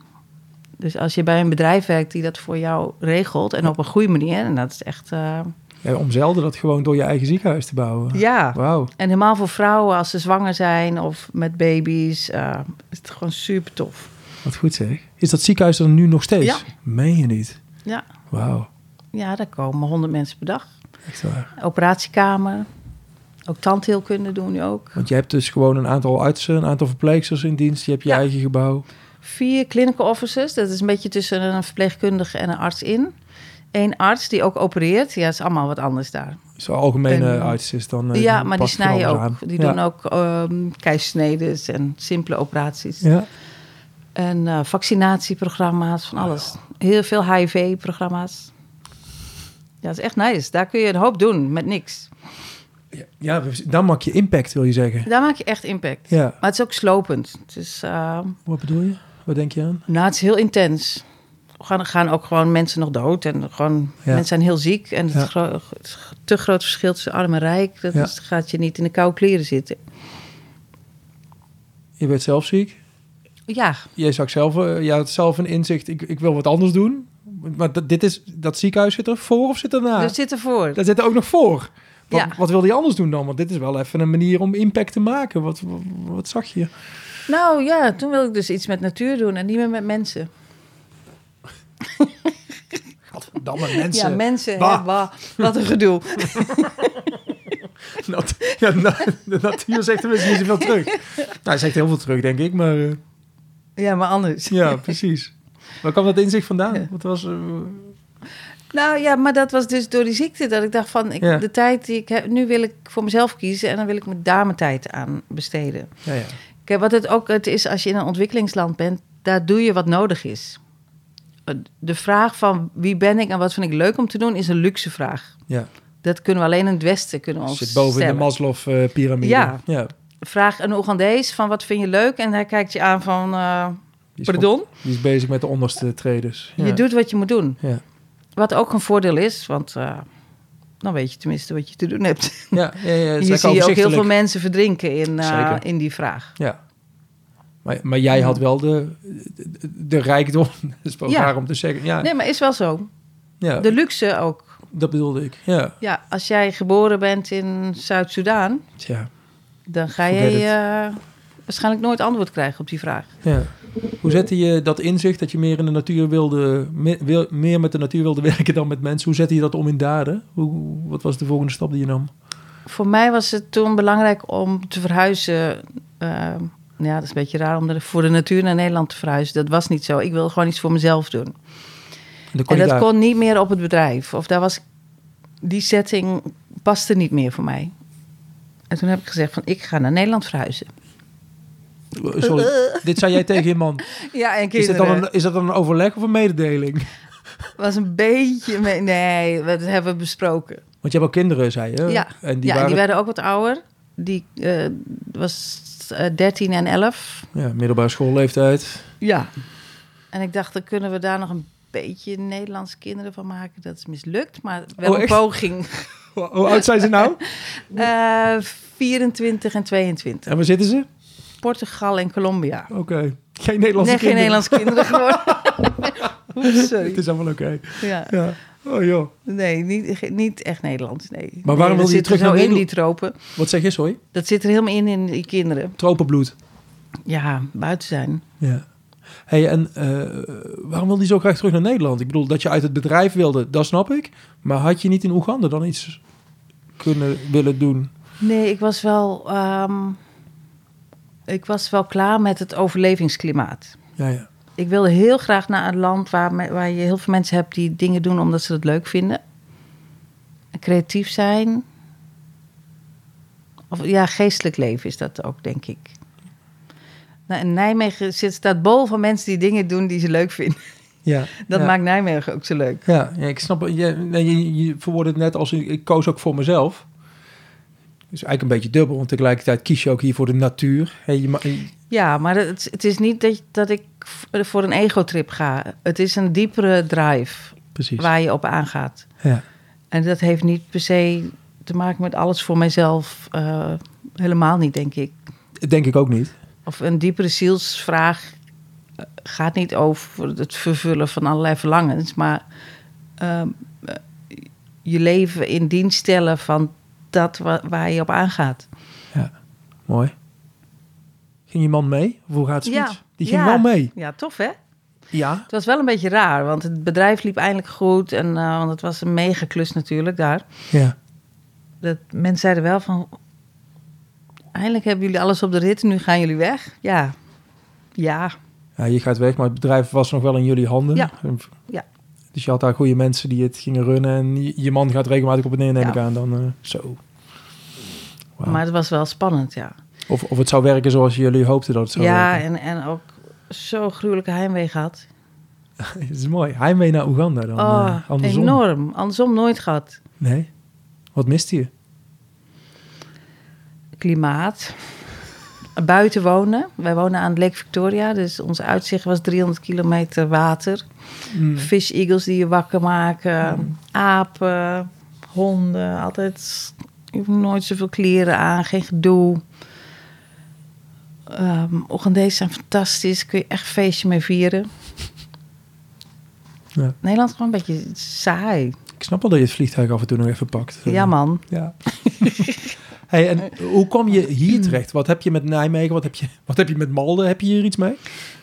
Speaker 1: Dus als je bij een bedrijf werkt die dat voor jou regelt... en op een goede manier, en dat is echt... eh,
Speaker 2: Ja, omzeilde dat gewoon door je eigen ziekenhuis te bouwen.
Speaker 1: ja,
Speaker 2: Wauw.
Speaker 1: En helemaal voor vrouwen als ze zwanger zijn of met baby's. eh, is het gewoon super tof.
Speaker 2: Wat goed zeg. Is dat ziekenhuis er nu nog steeds?
Speaker 1: Ja.
Speaker 2: Meen je niet?
Speaker 1: Ja,
Speaker 2: Wauw.
Speaker 1: ja daar komen honderd mensen per dag.
Speaker 2: Echt waar.
Speaker 1: Operatiekamer. Ook tandheelkunde doen nu ook.
Speaker 2: Want je hebt dus gewoon een aantal artsen, een aantal verpleegsters in dienst. Je hebt je
Speaker 1: Ja.
Speaker 2: eigen gebouw.
Speaker 1: Vier clinical officers. Dat is een beetje tussen een verpleegkundige en een arts in. Eén arts die ook opereert. Ja, dat is allemaal wat anders daar.
Speaker 2: Zo'n algemene
Speaker 1: En-
Speaker 2: arts is dan... eh,
Speaker 1: ja, maar die
Speaker 2: pakt van
Speaker 1: snijden ook.
Speaker 2: alles aan.
Speaker 1: Die
Speaker 2: Ja.
Speaker 1: doen ook ehm keissnedes en simpele operaties.
Speaker 2: Ja.
Speaker 1: En eh, vaccinatieprogramma's,
Speaker 2: Ah,
Speaker 1: van alles. Heel veel HIV-programma's. Ja, dat is echt nice. Daar kun je een hoop doen met niks.
Speaker 2: Ja, ja, dan maak je impact, wil je zeggen.
Speaker 1: Daar maak je echt impact.
Speaker 2: Ja.
Speaker 1: Maar het is ook slopend. Het is, eh,
Speaker 2: Wat bedoel je? Wat denk je aan?
Speaker 1: nou, het is heel intens. Er gaan, gaan ook gewoon mensen nog dood. En gewoon,
Speaker 2: Ja.
Speaker 1: mensen zijn heel ziek. En
Speaker 2: Ja.
Speaker 1: het, gro- het is te groot verschil tussen arm en rijk. Dat
Speaker 2: Ja.
Speaker 1: is- gaat je niet in de koude kleren zitten.
Speaker 2: Je werd zelf ziek.
Speaker 1: Ja,
Speaker 2: Jij zag zelf, eh, jij had zelf een inzicht, ik, ik wil wat anders doen. Maar dat, dit is, dat ziekenhuis zit er voor of zit er na?
Speaker 1: dat dus zit ervoor.
Speaker 2: Daar zit er ook nog voor. Wat,
Speaker 1: Ja.
Speaker 2: wat wilde je anders doen dan? Want dit is wel even een manier om impact te maken. Wat, wat, wat zag je?
Speaker 1: Nou ja, toen wilde ik dus iets met natuur doen en niet meer met mensen.
Speaker 2: Gadverdamme mensen.
Speaker 1: Ja, mensen. hè,
Speaker 2: Bah.
Speaker 1: bah, wat een gedoe.
Speaker 2: Nat- ja, na- de natuur zegt tenminste niet zoveel terug. Nou, hij zegt heel veel terug, denk ik. Maar eh,
Speaker 1: Ja, maar anders.
Speaker 2: ja, precies. Waar kwam dat inzicht vandaan?
Speaker 1: Ja.
Speaker 2: Wat was... eh,
Speaker 1: Nou ja, maar dat was dus door die ziekte dat ik dacht van ik,
Speaker 2: Ja.
Speaker 1: de tijd die ik heb, nu wil ik voor mezelf kiezen en dan wil ik mijn dametijd aan besteden.
Speaker 2: ja, ja.
Speaker 1: Kijk, wat het ook het is als je in een ontwikkelingsland bent, daar doe je wat nodig is. De vraag van wie ben ik en wat vind ik leuk om te doen is een luxe vraag.
Speaker 2: ja.
Speaker 1: Dat kunnen we alleen in het Westen kunnen we ons
Speaker 2: Zit boven in de
Speaker 1: stellen.
Speaker 2: Maslow-pyramide.
Speaker 1: Ja.
Speaker 2: ja.
Speaker 1: Vraag een Oegandese van wat vind je leuk en hij kijkt je aan van eh,
Speaker 2: Die is
Speaker 1: pardon,
Speaker 2: gewoon- Die is bezig met de onderste traders. Ja.
Speaker 1: je doet wat je moet doen.
Speaker 2: Ja.
Speaker 1: Wat ook een voordeel is, want eh, dan weet je tenminste wat je te doen hebt.
Speaker 2: Ja, ja, ja, het is
Speaker 1: Hier zie je
Speaker 2: lekker
Speaker 1: ook heel
Speaker 2: overzichtelijk.
Speaker 1: veel mensen verdrinken in, eh,
Speaker 2: Zeker.
Speaker 1: in die vraag.
Speaker 2: Ja. Maar, maar jij had wel de, de, de rijkdom. Dat is wel
Speaker 1: Ja.
Speaker 2: raar om te zeggen. Ja,
Speaker 1: Nee, maar is wel zo.
Speaker 2: ja
Speaker 1: De luxe ook.
Speaker 2: dat bedoelde ik. Ja.
Speaker 1: Ja, als jij geboren bent in Zuid-Soedan,
Speaker 2: Tja.
Speaker 1: dan ga
Speaker 2: Forget
Speaker 1: jij
Speaker 2: it.
Speaker 1: eh, waarschijnlijk nooit antwoord krijgen op die vraag.
Speaker 2: Ja. Hoe zette je dat inzicht dat je meer in de natuur wilde, me- wil- meer met de natuur wilde werken dan met mensen? Hoe zette je dat om in daden? Hoe, wat was de volgende stap die je nam?
Speaker 1: Voor mij was het toen belangrijk om te verhuizen. eh, nou ja, dat is een beetje raar om de- voor de natuur naar Nederland te verhuizen. Dat was niet zo. Ik wilde gewoon iets voor mezelf doen.
Speaker 2: Dat
Speaker 1: En
Speaker 2: je
Speaker 1: dat
Speaker 2: daar-
Speaker 1: kon niet meer op het bedrijf. Of daar was, die setting paste niet meer voor mij. En toen heb ik gezegd van, ik ga naar Nederland verhuizen.
Speaker 2: Oh, Sorry, dit zei jij tegen je man.
Speaker 1: Ja, en
Speaker 2: Is, dit
Speaker 1: kinderen.
Speaker 2: dan een, is dat dan een overleg of een mededeling?
Speaker 1: was een beetje... me- Nee, dat hebben we besproken.
Speaker 2: Want je hebt ook kinderen, zei je.
Speaker 1: ja,
Speaker 2: En die
Speaker 1: ja, en
Speaker 2: waren
Speaker 1: die werden ook wat ouder. Die eh, was eh, 13 en 11.
Speaker 2: ja, middelbare schoolleeftijd.
Speaker 1: Ja. En ik dacht, dan kunnen we daar nog een beetje Nederlandse kinderen van maken. Dat is mislukt, maar wel
Speaker 2: Oh,
Speaker 1: een
Speaker 2: echt?
Speaker 1: poging.
Speaker 2: Hoe hoe oud zijn ze nou?
Speaker 1: Eh, 24 en 22.
Speaker 2: En waar zitten ze?
Speaker 1: Portugal en Colombia.
Speaker 2: Oké. Geen Nederlandse
Speaker 1: nee, geen
Speaker 2: kinderen.
Speaker 1: Nederlandse kinderen geworden. Oeps, sorry.
Speaker 2: Het is allemaal oké.
Speaker 1: Ja.
Speaker 2: Ja. Oh joh.
Speaker 1: Nee, niet, ge- niet echt Nederlands, nee.
Speaker 2: waarom
Speaker 1: nee,
Speaker 2: wil
Speaker 1: dat
Speaker 2: je
Speaker 1: zit er
Speaker 2: terug
Speaker 1: zo
Speaker 2: naar
Speaker 1: in, die
Speaker 2: Nederland?
Speaker 1: tropen.
Speaker 2: Wat zeg je, sorry?
Speaker 1: Dat zit er helemaal in, in die kinderen.
Speaker 2: Tropenbloed.
Speaker 1: Ja, buiten zijn.
Speaker 2: Ja. hey, en eh, waarom wilde je zo graag terug naar Nederland? Ik bedoel, dat je uit het bedrijf wilde, dat snap ik. Maar had je niet in Oeganda dan iets kunnen willen doen?
Speaker 1: Nee, ik was wel... ehm, ik was wel klaar met het overlevingsklimaat.
Speaker 2: Ja, ja.
Speaker 1: Ik wilde heel graag naar een land waar, me- waar je heel veel mensen hebt die dingen doen omdat ze het leuk vinden. creatief zijn. Of, ja, geestelijk leven is dat ook, denk ik. Nou, en Nijmegen zit, staat bol van mensen die dingen doen die ze leuk vinden.
Speaker 2: Ja,
Speaker 1: Dat
Speaker 2: ja.
Speaker 1: maakt Nijmegen ook zo leuk.
Speaker 2: Ja, ja, ik snap. Je, nee, je, je verwoordde het net als ik, ik koos ook voor mezelf. Dus eigenlijk een beetje dubbel, want tegelijkertijd kies je ook hier voor de natuur. Hey, je, ma-
Speaker 1: Ja, maar het, het is niet dat, dat ik v- voor een egotrip ga. Het is een diepere drive
Speaker 2: precies.
Speaker 1: waar je op aangaat.
Speaker 2: Ja,
Speaker 1: En dat heeft niet per se te maken met alles voor mijzelf. eh, helemaal niet, denk ik.
Speaker 2: denk ik ook niet.
Speaker 1: Of een diepere zielsvraag eh, gaat niet over het vervullen van allerlei verlangens, maar ehm, eh, je leven in dienst stellen van dat wa- waar je op aangaat.
Speaker 2: Mooi. Ging je man mee? Of hoe gaat het?
Speaker 1: Ja,
Speaker 2: zoiets? Die ging
Speaker 1: ja.
Speaker 2: wel mee.
Speaker 1: Ja, tof hè?
Speaker 2: Ja.
Speaker 1: Het was wel een beetje raar, want het bedrijf liep eindelijk goed en eh, want het was een mega klus natuurlijk daar.
Speaker 2: Ja.
Speaker 1: Dat, mensen zeiden wel van, eindelijk hebben jullie alles op de rit en nu gaan jullie weg. Ja, ja,
Speaker 2: ja. Je gaat weg, maar het bedrijf was nog wel in jullie handen.
Speaker 1: Ja.
Speaker 2: En-
Speaker 1: Ja.
Speaker 2: Dus je had daar goede mensen die het gingen runnen. En je, je man gaat regelmatig op en neer, neem
Speaker 1: Ja.
Speaker 2: ik aan. Dan, eh, zo. Wauw.
Speaker 1: maar het was wel spannend, ja.
Speaker 2: Of, of het zou werken zoals jullie hoopten dat het zou
Speaker 1: ja,
Speaker 2: werken.
Speaker 1: en, en ook zo gruwelijke heimwee gehad.
Speaker 2: Het is mooi. Hij mee naar Oeganda dan.
Speaker 1: oh,
Speaker 2: eh, andersom.
Speaker 1: enorm. Andersom nooit gehad.
Speaker 2: Nee. Wat miste je?
Speaker 1: Klimaat. Buiten wonen. Wij wonen aan het Lake Victoria, dus ons uitzicht was 300 kilometer water.
Speaker 2: Mm.
Speaker 1: Fish eagles die je wakker maken. Apen, honden, altijd. Je hoeft nooit zoveel kleren aan, geen gedoe. Ehm Oegandees zijn fantastisch, kun je echt een feestje mee vieren.
Speaker 2: Ja.
Speaker 1: Nederland gewoon een beetje saai.
Speaker 2: Ik snap wel dat je het vliegtuig af en toe nog even pakt.
Speaker 1: Ja, man.
Speaker 2: Ja. hey, en hoe kwam je hier terecht? Wat heb je met Nijmegen? Wat heb je, wat heb je met Malden? Heb je hier iets mee?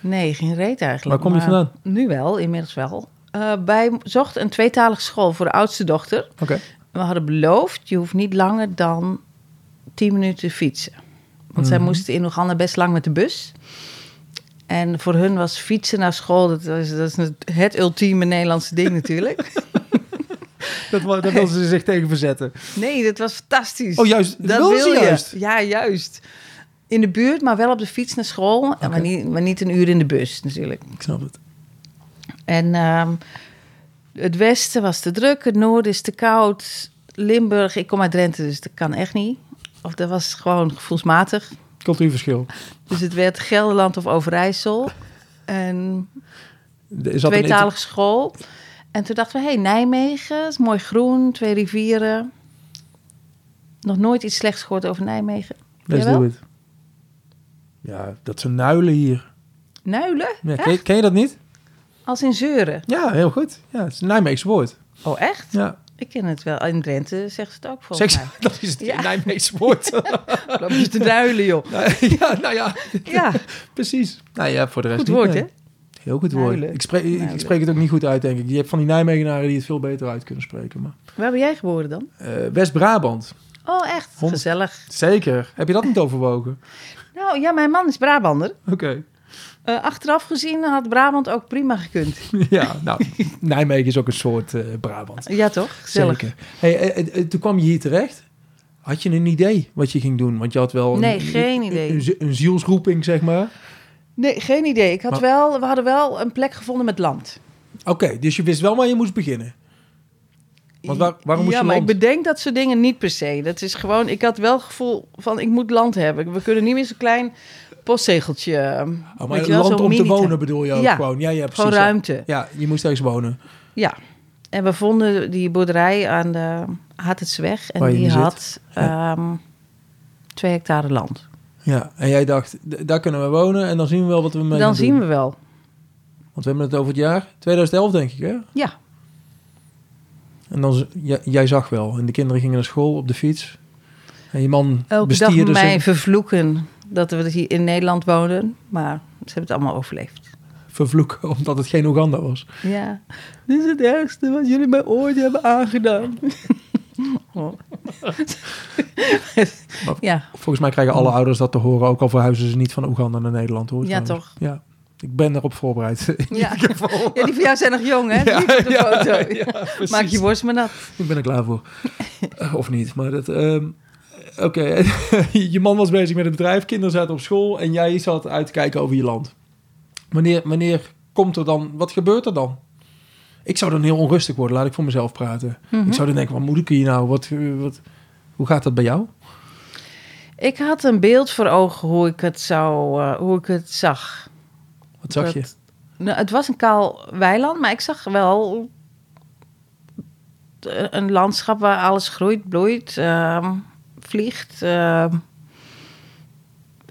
Speaker 1: Nee, geen reet eigenlijk.
Speaker 2: Waar kom je
Speaker 1: maar
Speaker 2: vandaan?
Speaker 1: Nu wel, inmiddels wel. Eh wij zochten een tweetalige school voor de oudste dochter.
Speaker 2: Oké.
Speaker 1: We hadden beloofd, je hoeft niet langer dan 10 minuten fietsen. Want zij
Speaker 2: Mhm.
Speaker 1: moesten in Oeganda best lang met de bus. En voor hun was fietsen naar school, dat is, dat is het- het ultieme Nederlandse ding natuurlijk.
Speaker 2: Dat, wa- dat wilden ze zich tegen verzetten.
Speaker 1: Nee, dat was fantastisch.
Speaker 2: Oh, juist. Dat wilden ze
Speaker 1: wil je.
Speaker 2: juist.
Speaker 1: Ja, juist. In de buurt, maar wel op de fiets naar school. En Maar,
Speaker 2: Oké.
Speaker 1: niet, maar niet een uur in de bus natuurlijk.
Speaker 2: Ik snap het.
Speaker 1: En ehm, het westen was te druk, het noorden is te koud. Limburg, ik kom uit Drenthe, dus dat kan echt niet. Of dat was gewoon gevoelsmatig.
Speaker 2: Cultuurverschil.
Speaker 1: Dus het werd Gelderland of Overijssel. En
Speaker 2: Er Is dat een inter-
Speaker 1: tweetalige school. En toen dachten we, hé, hey, Nijmegen, is mooi groen, twee rivieren. Nog nooit iets slechts gehoord over Nijmegen.
Speaker 2: Let's
Speaker 1: Jawel.
Speaker 2: do it. Ja, dat zijn nuilen hier.
Speaker 1: Nuilen?
Speaker 2: Ja, ken, je- ken je dat niet?
Speaker 1: Als in zeuren.
Speaker 2: Ja, heel goed. Ja, het is een Nijmeegse woord.
Speaker 1: Oh, echt?
Speaker 2: Ja.
Speaker 1: Ik ken het wel. In Drenthe zeggen ze het ook volgens
Speaker 2: Seks,
Speaker 1: mij.
Speaker 2: dat is het
Speaker 1: Ja.
Speaker 2: Nijmeegse woord.
Speaker 1: Loop je te nuilen, joh.
Speaker 2: ja, nou ja,
Speaker 1: Ja,
Speaker 2: precies. Nou ja, voor de rest
Speaker 1: goed
Speaker 2: niet,
Speaker 1: woord,
Speaker 2: nee.
Speaker 1: hè?
Speaker 2: Heel goed woord.
Speaker 1: Nuilen.
Speaker 2: Ik spreek, ik,
Speaker 1: Nuilen.
Speaker 2: spreek het ook niet goed uit, denk ik. Je hebt van die Nijmegenaren die het veel beter uit kunnen spreken. Maar.
Speaker 1: Waar ben jij geboren dan?
Speaker 2: Eh, West-Brabant.
Speaker 1: Oh, echt?
Speaker 2: Hond.
Speaker 1: Gezellig.
Speaker 2: Zeker. Heb je dat niet overwogen?
Speaker 1: Nou ja, mijn man is Brabander.
Speaker 2: Oké.
Speaker 1: Eh, achteraf gezien had Brabant ook prima gekund.
Speaker 2: Ja, nou, Nijmegen is ook een soort eh, Brabant.
Speaker 1: Ja, toch? Gezellig.
Speaker 2: Zeker. Hey, eh, eh, eh, toen kwam je hier terecht. Had je een idee wat je ging doen? Want je had wel een,
Speaker 1: Nee, geen
Speaker 2: een-
Speaker 1: idee.
Speaker 2: Een, zi- een zielsroeping, zeg maar.
Speaker 1: Nee, geen idee. Ik had
Speaker 2: Maar-
Speaker 1: wel, we hadden wel een plek gevonden met land.
Speaker 2: Oké, dus je wist wel waar je moest beginnen. Want waar- waarom moest
Speaker 1: ja,
Speaker 2: je
Speaker 1: maar
Speaker 2: land?
Speaker 1: ik bedenk dat soort dingen niet per se. Dat is gewoon, ik had wel het gevoel van, ik moet land hebben. We kunnen niet meer zo'n klein postzegeltje. eh,
Speaker 2: Oh, maar
Speaker 1: weet je wel,
Speaker 2: land
Speaker 1: zo'n
Speaker 2: om te
Speaker 1: mini-
Speaker 2: wonen bedoel je ook
Speaker 1: Ja,
Speaker 2: gewoon? Ja, ja, precies.
Speaker 1: Gewoon
Speaker 2: ja.
Speaker 1: ruimte.
Speaker 2: Ja, je moest ergens wonen.
Speaker 1: Ja. En we vonden die boerderij aan de Hatetsweg.
Speaker 2: Waar
Speaker 1: En
Speaker 2: je nu
Speaker 1: die
Speaker 2: zit.
Speaker 1: had ehm, twee hectare land.
Speaker 2: Ja, en jij dacht, d- daar kunnen we wonen en dan zien we wel wat we mee
Speaker 1: Dan
Speaker 2: gaan
Speaker 1: zien
Speaker 2: doen.
Speaker 1: we wel.
Speaker 2: Want we hebben het over het jaar 2011, denk ik, hè?
Speaker 1: Ja.
Speaker 2: En dan, z- j- jij zag wel. En de kinderen gingen naar school op de fiets. En je man
Speaker 1: Elke dag
Speaker 2: bestierde
Speaker 1: mij
Speaker 2: zijn...
Speaker 1: vervloeken dat we hier in Nederland woonden. Maar ze hebben het allemaal overleefd.
Speaker 2: vervloeken, omdat het geen Oeganda was.
Speaker 1: Ja. Dit is het ergste wat jullie mij ooit hebben aangedaan. Oh.
Speaker 2: Maar-
Speaker 1: ja,
Speaker 2: Volgens mij krijgen alle ouders dat te horen, ook al verhuizen ze niet van Oeganda naar Nederland, hoor.
Speaker 1: Oh. Ja,
Speaker 2: trouwens.
Speaker 1: toch?
Speaker 2: Ja. Ik ben erop voorbereid. In
Speaker 1: Ja.
Speaker 2: ieder geval.
Speaker 1: Ja, die van jou zijn nog jong, hè? Die op de
Speaker 2: ja,
Speaker 1: foto.
Speaker 2: ja, precies.
Speaker 1: Maak je borst maar nat.
Speaker 2: Ik ben er klaar voor. Eh, of niet, maar dat... ehm, Oké, je man was bezig met het bedrijf, kinderen zaten op school... en jij zat uit te kijken over je land. Wanneer, wanneer komt er dan... Wat gebeurt er dan? Ik zou dan heel onrustig worden, laat ik voor mezelf praten. Ik zou dan denken, wat moet ik hier nou? Wat, eh, wat, hoe gaat dat bij jou?
Speaker 1: Ik had een beeld voor ogen hoe ik het, zou, eh, hoe ik het zag.
Speaker 2: Wat zag je?
Speaker 1: Dat- Nou, het was een kaal weiland, maar ik zag wel eh, een landschap waar alles groeit, bloeit, ehm, vliegt. ehm.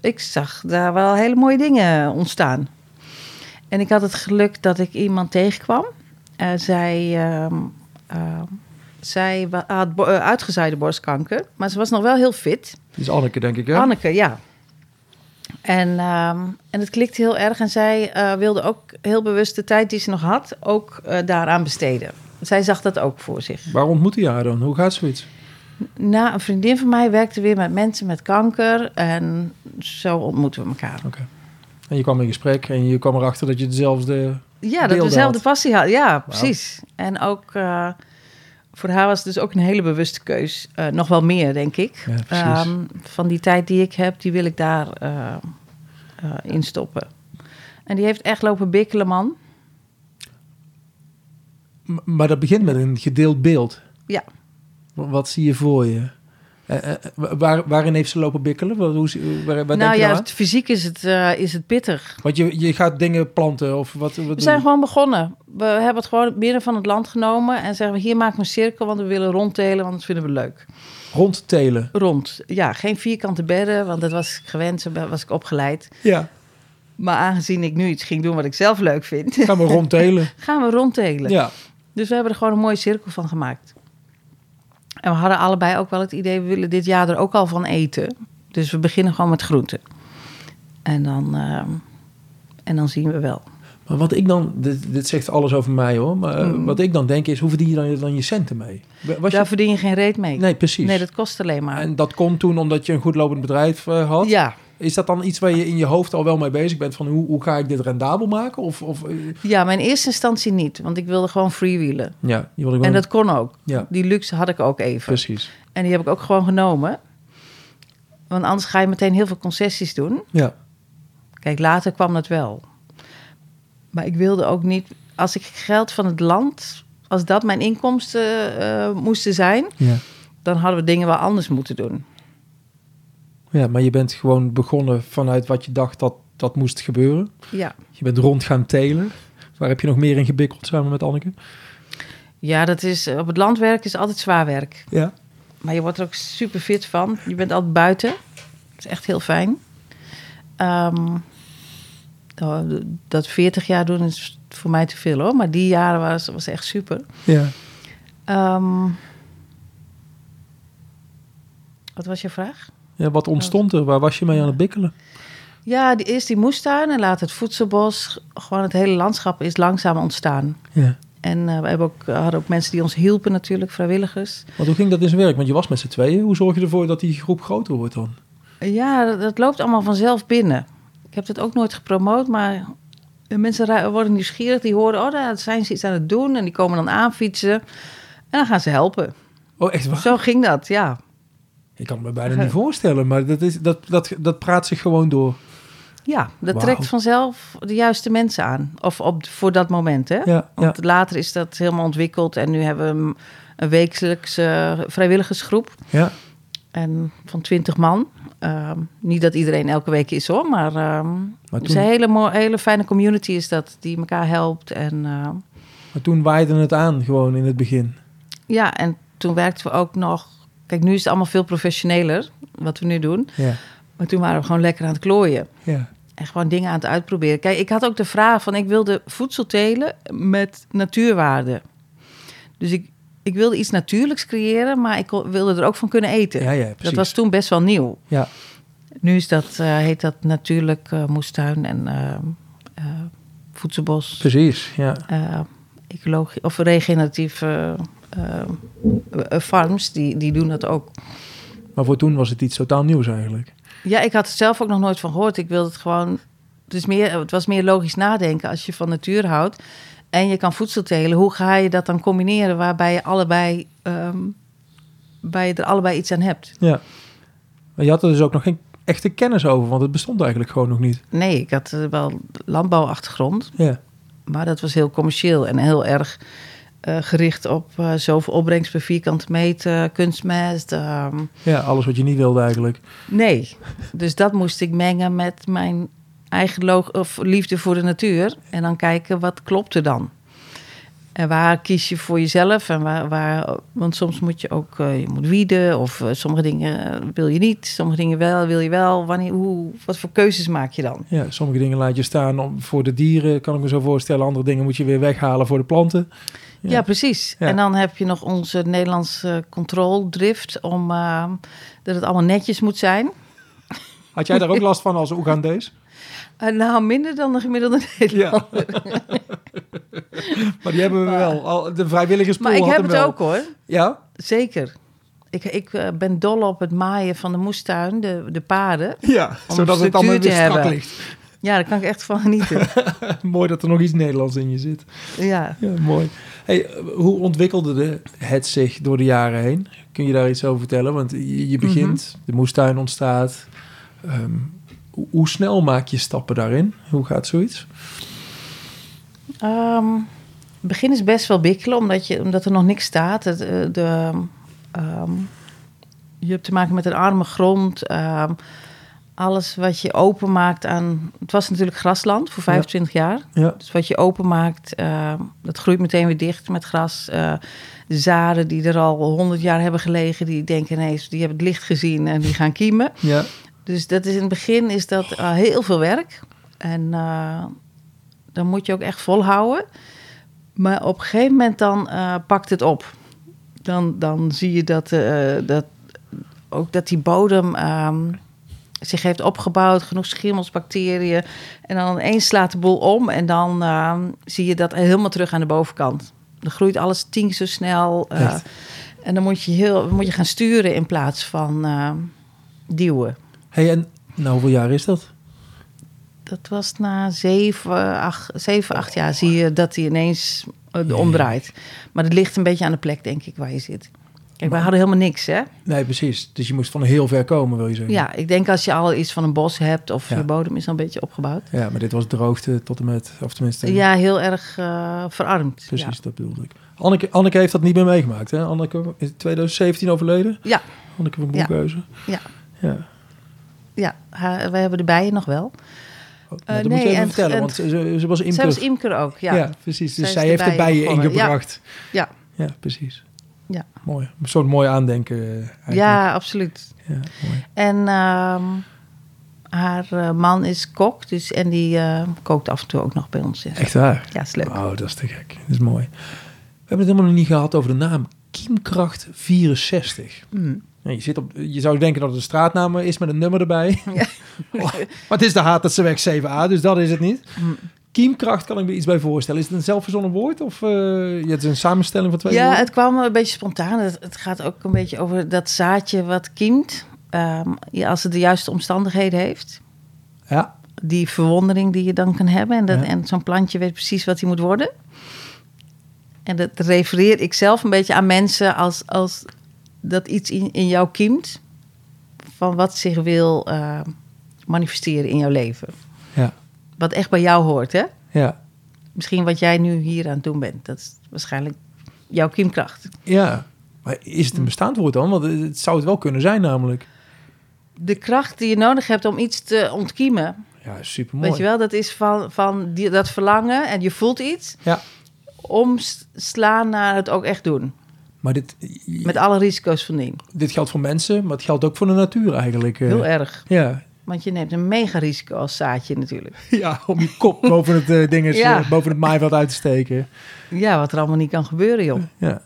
Speaker 1: ik zag daar wel hele mooie dingen ontstaan. En ik had het geluk dat ik iemand tegenkwam. Eh, zij ehm, ehm, zij wa- had bo- eh, uitgezaaide borstkanker, maar ze was nog wel heel fit.
Speaker 2: Dat is Anneke, denk ik, hè?
Speaker 1: Anneke, ja. En, ehm, en het klikte heel erg. En zij eh, wilde ook heel bewust de tijd die ze nog had, ook eh, daaraan besteden. Zij zag dat ook voor zich.
Speaker 2: Waar ontmoette je haar dan? Hoe gaat zoiets?
Speaker 1: Na een vriendin van mij werkte weer met mensen met kanker. En zo ontmoeten we elkaar.
Speaker 2: En je kwam in gesprek en je kwam erachter dat je dezelfde...
Speaker 1: Ja, dat we
Speaker 2: Beelden
Speaker 1: dezelfde
Speaker 2: had.
Speaker 1: passie hadden. Ja, precies. En ook eh, voor haar was het dus ook een hele bewuste keus. Eh, nog wel meer, denk ik.
Speaker 2: Ja, precies.
Speaker 1: Ehm, van die tijd die ik heb, die wil ik daar eh, eh, in stoppen. En die heeft echt lopen bikkelen, man.
Speaker 2: M- Maar dat begint met een gedeeld beeld.
Speaker 1: Ja.
Speaker 2: W- Wat zie je voor je? Eh, eh, wa- waar, waarin heeft ze lopen bikkelen? Wat, hoe, zie- waar, waar denk
Speaker 1: nou
Speaker 2: je
Speaker 1: ja,
Speaker 2: nou aan?
Speaker 1: het- fysiek is het, eh, is het pittig.
Speaker 2: Want je, je gaat dingen planten of wat... wat
Speaker 1: We
Speaker 2: doe
Speaker 1: zijn
Speaker 2: je?
Speaker 1: gewoon begonnen. We hebben het gewoon midden van het land genomen. En zeggen we, hier maken we een cirkel, want we willen rondtelen, want dat vinden we leuk.
Speaker 2: Rondtelen.
Speaker 1: Rond. Ja, geen vierkante bedden, want dat was ik gewend. Zo was ik opgeleid.
Speaker 2: Ja,
Speaker 1: Maar aangezien ik nu iets ging doen wat ik zelf leuk vind,
Speaker 2: gaan we rondtelen.
Speaker 1: gaan we rondtelen.
Speaker 2: Ja,
Speaker 1: Dus we hebben er gewoon een mooie cirkel van gemaakt. En we hadden allebei ook wel het idee, we willen dit jaar er ook al van eten. Dus we beginnen gewoon met groenten. En dan, ehm, en dan zien we wel.
Speaker 2: maar wat ik dan... Dit, dit zegt alles over mij hoor. Maar eh, wat ik dan denk is, hoe verdien je dan, dan je centen mee? Wa- Was
Speaker 1: Mm. Daar
Speaker 2: je,
Speaker 1: verdien je geen reet mee.
Speaker 2: nee, precies.
Speaker 1: Nee, dat kost alleen maar.
Speaker 2: En dat kon toen omdat je een goed lopend bedrijf eh, had?
Speaker 1: Ja,
Speaker 2: Is dat dan iets waar je in je hoofd al wel mee bezig bent? Van hoe, hoe ga ik dit rendabel maken? Of, of, eh,
Speaker 1: ja, maar in eerste instantie niet. Want ik wilde gewoon freewheelen.
Speaker 2: ja, je wil gewoon...
Speaker 1: En dat kon ook.
Speaker 2: Ja,
Speaker 1: Die luxe had ik ook even.
Speaker 2: precies.
Speaker 1: En die heb ik ook gewoon genomen. Want anders ga je meteen heel veel concessies doen.
Speaker 2: Ja,
Speaker 1: Kijk, later kwam dat wel. Maar ik wilde ook niet... Als ik geld van het land... Als dat mijn inkomsten eh, moesten zijn...
Speaker 2: ja.
Speaker 1: dan hadden we dingen wel anders moeten doen.
Speaker 2: ja, maar je bent gewoon begonnen vanuit wat je dacht dat dat moest gebeuren.
Speaker 1: Ja,
Speaker 2: Je bent rond gaan telen. Waar heb je nog meer in gebikkeld samen met Anneke?
Speaker 1: ja dat is, eh, op het land werken is altijd zwaar werk.
Speaker 2: Ja.
Speaker 1: Maar je wordt er ook super fit van. Je bent altijd buiten. Dat is echt heel fijn. Ehm, oh, dat 40 jaar doen is voor mij te veel hoor. Maar die jaren was, was echt super.
Speaker 2: ja.
Speaker 1: Ehm, wat was je vraag?
Speaker 2: Ja, wat ontstond er? Waar was je mee aan het bikkelen?
Speaker 1: Ja, die, eerst die moestuin en later het voedselbos. Gewoon het hele landschap is langzaam ontstaan.
Speaker 2: Ja.
Speaker 1: En eh, we hebben ook, hadden ook mensen die ons hielpen natuurlijk, vrijwilligers.
Speaker 2: Want hoe ging dat in zijn werk? Want je was met z'n tweeën. Hoe zorg je ervoor dat die groep groter wordt dan?
Speaker 1: Ja, dat, dat loopt allemaal vanzelf binnen. Ik heb dat ook nooit gepromoot, maar de mensen ra- worden nieuwsgierig. Die horen, oh, daar zijn ze iets aan het doen. En die komen dan aanfietsen. En dan gaan ze helpen.
Speaker 2: Oh, echt waar?
Speaker 1: Zo ging dat, ja.
Speaker 2: Ik kan me bijna niet voorstellen, maar dat, is, dat, dat, dat praat zich gewoon door.
Speaker 1: Ja, dat
Speaker 2: Wauw.
Speaker 1: trekt vanzelf de juiste mensen aan. Of op, voor dat moment, hè.
Speaker 2: Ja, ja.
Speaker 1: Want later is dat helemaal ontwikkeld. En nu hebben we een, een wekelijkse eh, vrijwilligersgroep.
Speaker 2: ja.
Speaker 1: En van 20 man. Ehm, niet dat iedereen elke week is hoor, maar, ehm
Speaker 2: Maar
Speaker 1: het is
Speaker 2: toen-
Speaker 1: een hele, mo- hele fijne community is dat, die elkaar helpt. En, ehm,
Speaker 2: Maar toen waaide het aan gewoon in het begin.
Speaker 1: ja, en toen werkten we ook nog. Kijk, nu is het allemaal veel professioneler wat we nu doen.
Speaker 2: Ja.
Speaker 1: Maar toen waren we gewoon lekker aan het klooien.
Speaker 2: Ja.
Speaker 1: En gewoon dingen aan het uitproberen. Kijk, ik had ook de vraag van ik wilde voedsel telen met natuurwaarde. Dus ik, ik wilde iets natuurlijks creëren, maar ik kon- wilde er ook van kunnen eten.
Speaker 2: Ja, ja, precies.
Speaker 1: dat was toen best wel nieuw.
Speaker 2: Ja.
Speaker 1: Nu is dat, eh, heet dat natuurlijk eh, moestuin en eh, eh, voedselbos.
Speaker 2: Precies, ja.
Speaker 1: eh, ecologie- of regeneratieve eh, eh, farms, die, die doen dat ook.
Speaker 2: Maar voor toen was het iets totaal nieuws eigenlijk.
Speaker 1: Ja, ik had er zelf ook nog nooit van gehoord. Ik wilde het gewoon Dus meer, het was meer logisch nadenken als je van natuur houdt. En je kan voedsel telen. Hoe ga je dat dan combineren waarbij je, allebei, ehm, waar je er allebei iets aan hebt?
Speaker 2: Ja. Maar je had er dus ook nog geen echte kennis over, want het bestond eigenlijk gewoon nog niet.
Speaker 1: Nee, ik had eh, wel landbouwachtergrond.
Speaker 2: Ja.
Speaker 1: Maar dat was heel commercieel en heel erg eh, gericht op eh, zoveel opbrengst per vierkante meter, kunstmest. ehm,
Speaker 2: ja, alles wat je niet wilde eigenlijk.
Speaker 1: nee, dus dat moest ik mengen met mijn eigen log- of liefde voor de natuur. En dan kijken wat klopt er dan. En waar kies je voor jezelf? En waar, waar, want soms moet je ook eh, je moet wieden of eh, sommige dingen wil je niet, sommige dingen wel, wil je wel. Wanneer, hoe, wat voor keuzes maak je dan?
Speaker 2: Ja, sommige dingen laat je staan om, voor de dieren, kan ik me zo voorstellen. Andere dingen moet je weer weghalen voor de planten. Ja.
Speaker 1: Ja, precies.
Speaker 2: Ja.
Speaker 1: En dan heb je nog onze Nederlandse controldrift om eh, dat het allemaal netjes moet zijn.
Speaker 2: Had jij daar ook last van als Oegandees?
Speaker 1: Eh, nou, minder dan de gemiddelde Nederlander.
Speaker 2: Maar die hebben we wel. Al, de vrijwilligerspool
Speaker 1: maar ik
Speaker 2: had
Speaker 1: heb
Speaker 2: hem
Speaker 1: het
Speaker 2: wel.
Speaker 1: ook hoor,
Speaker 2: Ja?
Speaker 1: zeker. Ik, ik eh, ben dol op het maaien van de moestuin, de, de paden.
Speaker 2: Ja,
Speaker 1: Om
Speaker 2: zodat het dan
Speaker 1: structuur
Speaker 2: weer
Speaker 1: te
Speaker 2: strak
Speaker 1: hebben.
Speaker 2: ligt.
Speaker 1: Ja, daar kan ik echt van genieten.
Speaker 2: mooi dat er nog iets Nederlands in je zit.
Speaker 1: ja.
Speaker 2: Ja, mooi. Hey, eh, hoe ontwikkelde de, het zich door de jaren heen? Kun je daar iets over vertellen? Want je, je
Speaker 1: Mhm.
Speaker 2: begint, de moestuin ontstaat. Ehm, hoe, hoe snel maak je stappen daarin? Hoe gaat zoiets?
Speaker 1: Ehm, het begin is best wel bikkelen, omdat, je, omdat er nog niks staat. Het, eh, de, ehm, je hebt te maken met een arme grond. ehm, alles wat je openmaakt aan... Het was natuurlijk grasland voor 25 jaar.
Speaker 2: Ja.
Speaker 1: Dus wat je openmaakt, ehm, dat groeit meteen weer dicht met gras. Eh, de zaden die er al 100 jaar hebben gelegen, die denken ineens... die hebben het licht gezien en die gaan kiemen.
Speaker 2: ja.
Speaker 1: Dus dat is in het begin is dat eh, heel veel werk. En eh, dan moet je ook echt volhouden. Maar op een gegeven moment dan eh, pakt het op. Dan, dan zie je dat, eh, dat ook dat die bodem ehm, zich heeft opgebouwd, genoeg schimmels, bacteriën. En dan ineens slaat de boel om en dan ehm, zie je dat helemaal terug aan de bovenkant. Dan groeit alles tien keer zo snel. eh,
Speaker 2: Echt?
Speaker 1: en dan moet je, heel, moet je gaan sturen in plaats van ehm, duwen.
Speaker 2: Hey, en nou, hoeveel jaar is dat?
Speaker 1: Dat was na zeven, acht, zeven, acht jaar zie je dat hij ineens eh,
Speaker 2: Ja.
Speaker 1: omdraait. Maar dat ligt een beetje aan de plek, denk ik, waar je zit. Kijk, wij hadden helemaal niks, hè?
Speaker 2: Nee, precies. Dus je moest van heel ver komen, wil je zeggen?
Speaker 1: Ja, ik denk als je al iets van een bos hebt of
Speaker 2: Ja.
Speaker 1: je bodem is al een beetje opgebouwd.
Speaker 2: Ja, maar dit was droogte tot en met, of tenminste...
Speaker 1: Ja, heel erg eh, verarmd.
Speaker 2: Precies, dat bedoelde ik. Anneke, Anneke heeft dat niet meer meegemaakt, hè? Anneke is in 2017 overleden.
Speaker 1: Ja,
Speaker 2: Anneke van
Speaker 1: Ja.
Speaker 2: Boekhuizen.
Speaker 1: ja,
Speaker 2: Ja.
Speaker 1: ja. ja. We hebben de bijen nog wel.
Speaker 2: Oh, nou, dat
Speaker 1: Eh, nee,
Speaker 2: moet je even
Speaker 1: en-
Speaker 2: vertellen,
Speaker 1: en-
Speaker 2: want ze, ze- ze was
Speaker 1: Zij
Speaker 2: imker.
Speaker 1: was imker ook, ja.
Speaker 2: Ja,
Speaker 1: ja.
Speaker 2: precies.
Speaker 1: Zij is
Speaker 2: Dus zij
Speaker 1: de
Speaker 2: heeft de
Speaker 1: bijen
Speaker 2: bijen
Speaker 1: begonnen.
Speaker 2: ingebracht.
Speaker 1: Ja.
Speaker 2: ja. precies.
Speaker 1: Ja.
Speaker 2: Mooi. Zo'n mooi aandenken eh, eigenlijk.
Speaker 1: absoluut.
Speaker 2: Ja, mooi.
Speaker 1: En ehm, haar eh, man is kok, dus, en die eh, kookt af en toe ook nog bij ons. Ja,
Speaker 2: Echt waar.
Speaker 1: ja is leuk.
Speaker 2: Oh, dat is te gek. Dat is mooi. We hebben het helemaal nog niet gehad over de naam Kiemkracht 64.
Speaker 1: Mm.
Speaker 2: Ja, je, zit op, je zou denken dat het een straatnaam is met een nummer erbij.
Speaker 1: Ja.
Speaker 2: Oh, maar het is de Hatertseweg 7a, dus dat is het niet.
Speaker 1: Mm.
Speaker 2: Kiemkracht kan ik me iets bij voorstellen. Is het een zelfverzonnen woord of eh, ja, het is een samenstelling van twee
Speaker 1: ja,
Speaker 2: woorden?
Speaker 1: het kwam een beetje spontaan. Het, het gaat ook een beetje over dat zaadje wat kiemt. Ehm, ja, als het de juiste omstandigheden heeft.
Speaker 2: Ja,
Speaker 1: Die verwondering die je dan kan hebben. En, dat,
Speaker 2: Ja.
Speaker 1: en zo'n plantje weet precies wat hij moet worden. En dat refereer ik zelf een beetje aan mensen als, als dat iets in, in jou kiemt. Van wat zich wil eh, manifesteren in jouw leven.
Speaker 2: ja,
Speaker 1: Wat echt bij jou hoort, hè?
Speaker 2: ja.
Speaker 1: Misschien wat jij nu hier aan het doen bent. Dat is waarschijnlijk jouw kiemkracht.
Speaker 2: Ja, maar is
Speaker 1: Hm.
Speaker 2: het een bestaand woord dan? Want het het zou het wel kunnen zijn namelijk.
Speaker 1: de kracht die je nodig hebt om iets te ontkiemen.
Speaker 2: Ja, supermooi.
Speaker 1: Weet je wel, dat is van, van die, dat verlangen en je voelt iets.
Speaker 2: Ja.
Speaker 1: Omslaan naar het ook echt doen.
Speaker 2: Maar dit,
Speaker 1: Met alle risico's van dien.
Speaker 2: dit geldt voor mensen, maar het geldt ook voor de natuur eigenlijk. eh.
Speaker 1: Heel erg.
Speaker 2: Ja.
Speaker 1: Want je neemt een mega risico als zaadje natuurlijk.
Speaker 2: ja, om je kop boven het, eh, ding is,
Speaker 1: Ja.
Speaker 2: eh, boven het maaiveld uit te steken.
Speaker 1: Ja, wat er allemaal niet kan gebeuren, joh.
Speaker 2: Ja.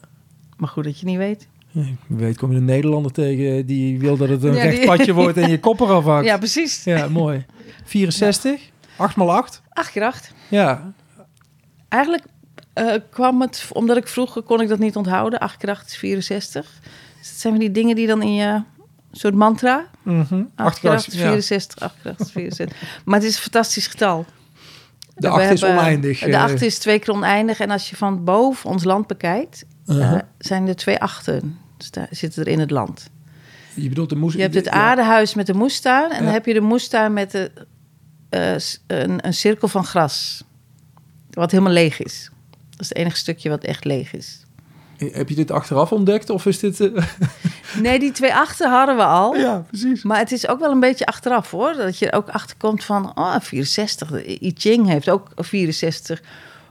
Speaker 1: Maar goed dat je niet weet.
Speaker 2: Ja, Wie weet kom je een Nederlander tegen die wil dat het een
Speaker 1: Ja, die-
Speaker 2: recht padje wordt en je kop eraf hakt.
Speaker 1: Ja,
Speaker 2: Ja,
Speaker 1: precies.
Speaker 2: mooi. 64, 8 x 8.
Speaker 1: Acht keer acht.
Speaker 2: Ja,
Speaker 1: Eigenlijk eh, kwam het, omdat ik vroeger kon ik dat niet onthouden. Acht keer acht is 64. Dus dat zijn van die dingen die dan in je soort mantra
Speaker 2: Mhm.
Speaker 1: Acht
Speaker 2: Achterkracht,
Speaker 1: kracht,
Speaker 2: ja.
Speaker 1: 64, acht kracht, 64. maar het is een fantastisch getal. We
Speaker 2: De acht is
Speaker 1: hebben-
Speaker 2: oneindig. eh.
Speaker 1: De acht is twee keer oneindig. En als je van boven ons land bekijkt, eh,
Speaker 2: Uh-huh.
Speaker 1: zijn er twee achten. Dus daar zitten er in het land.
Speaker 2: Je bedoelt de moes...
Speaker 1: Je hebt het
Speaker 2: ja.
Speaker 1: aardehuis met de moestuin. En
Speaker 2: Ja.
Speaker 1: dan heb je de moestuin met de, eh, s- een, een cirkel van gras. Wat helemaal leeg is. Dat is het enige stukje wat echt leeg is.
Speaker 2: Heb je dit achteraf ontdekt of is dit... eh,
Speaker 1: Nee, die twee achten hadden we al.
Speaker 2: Oh ja, precies.
Speaker 1: Maar het is ook wel een beetje achteraf hoor. Dat je er ook achter komt van, oh, 64. De I Ching heeft ook 64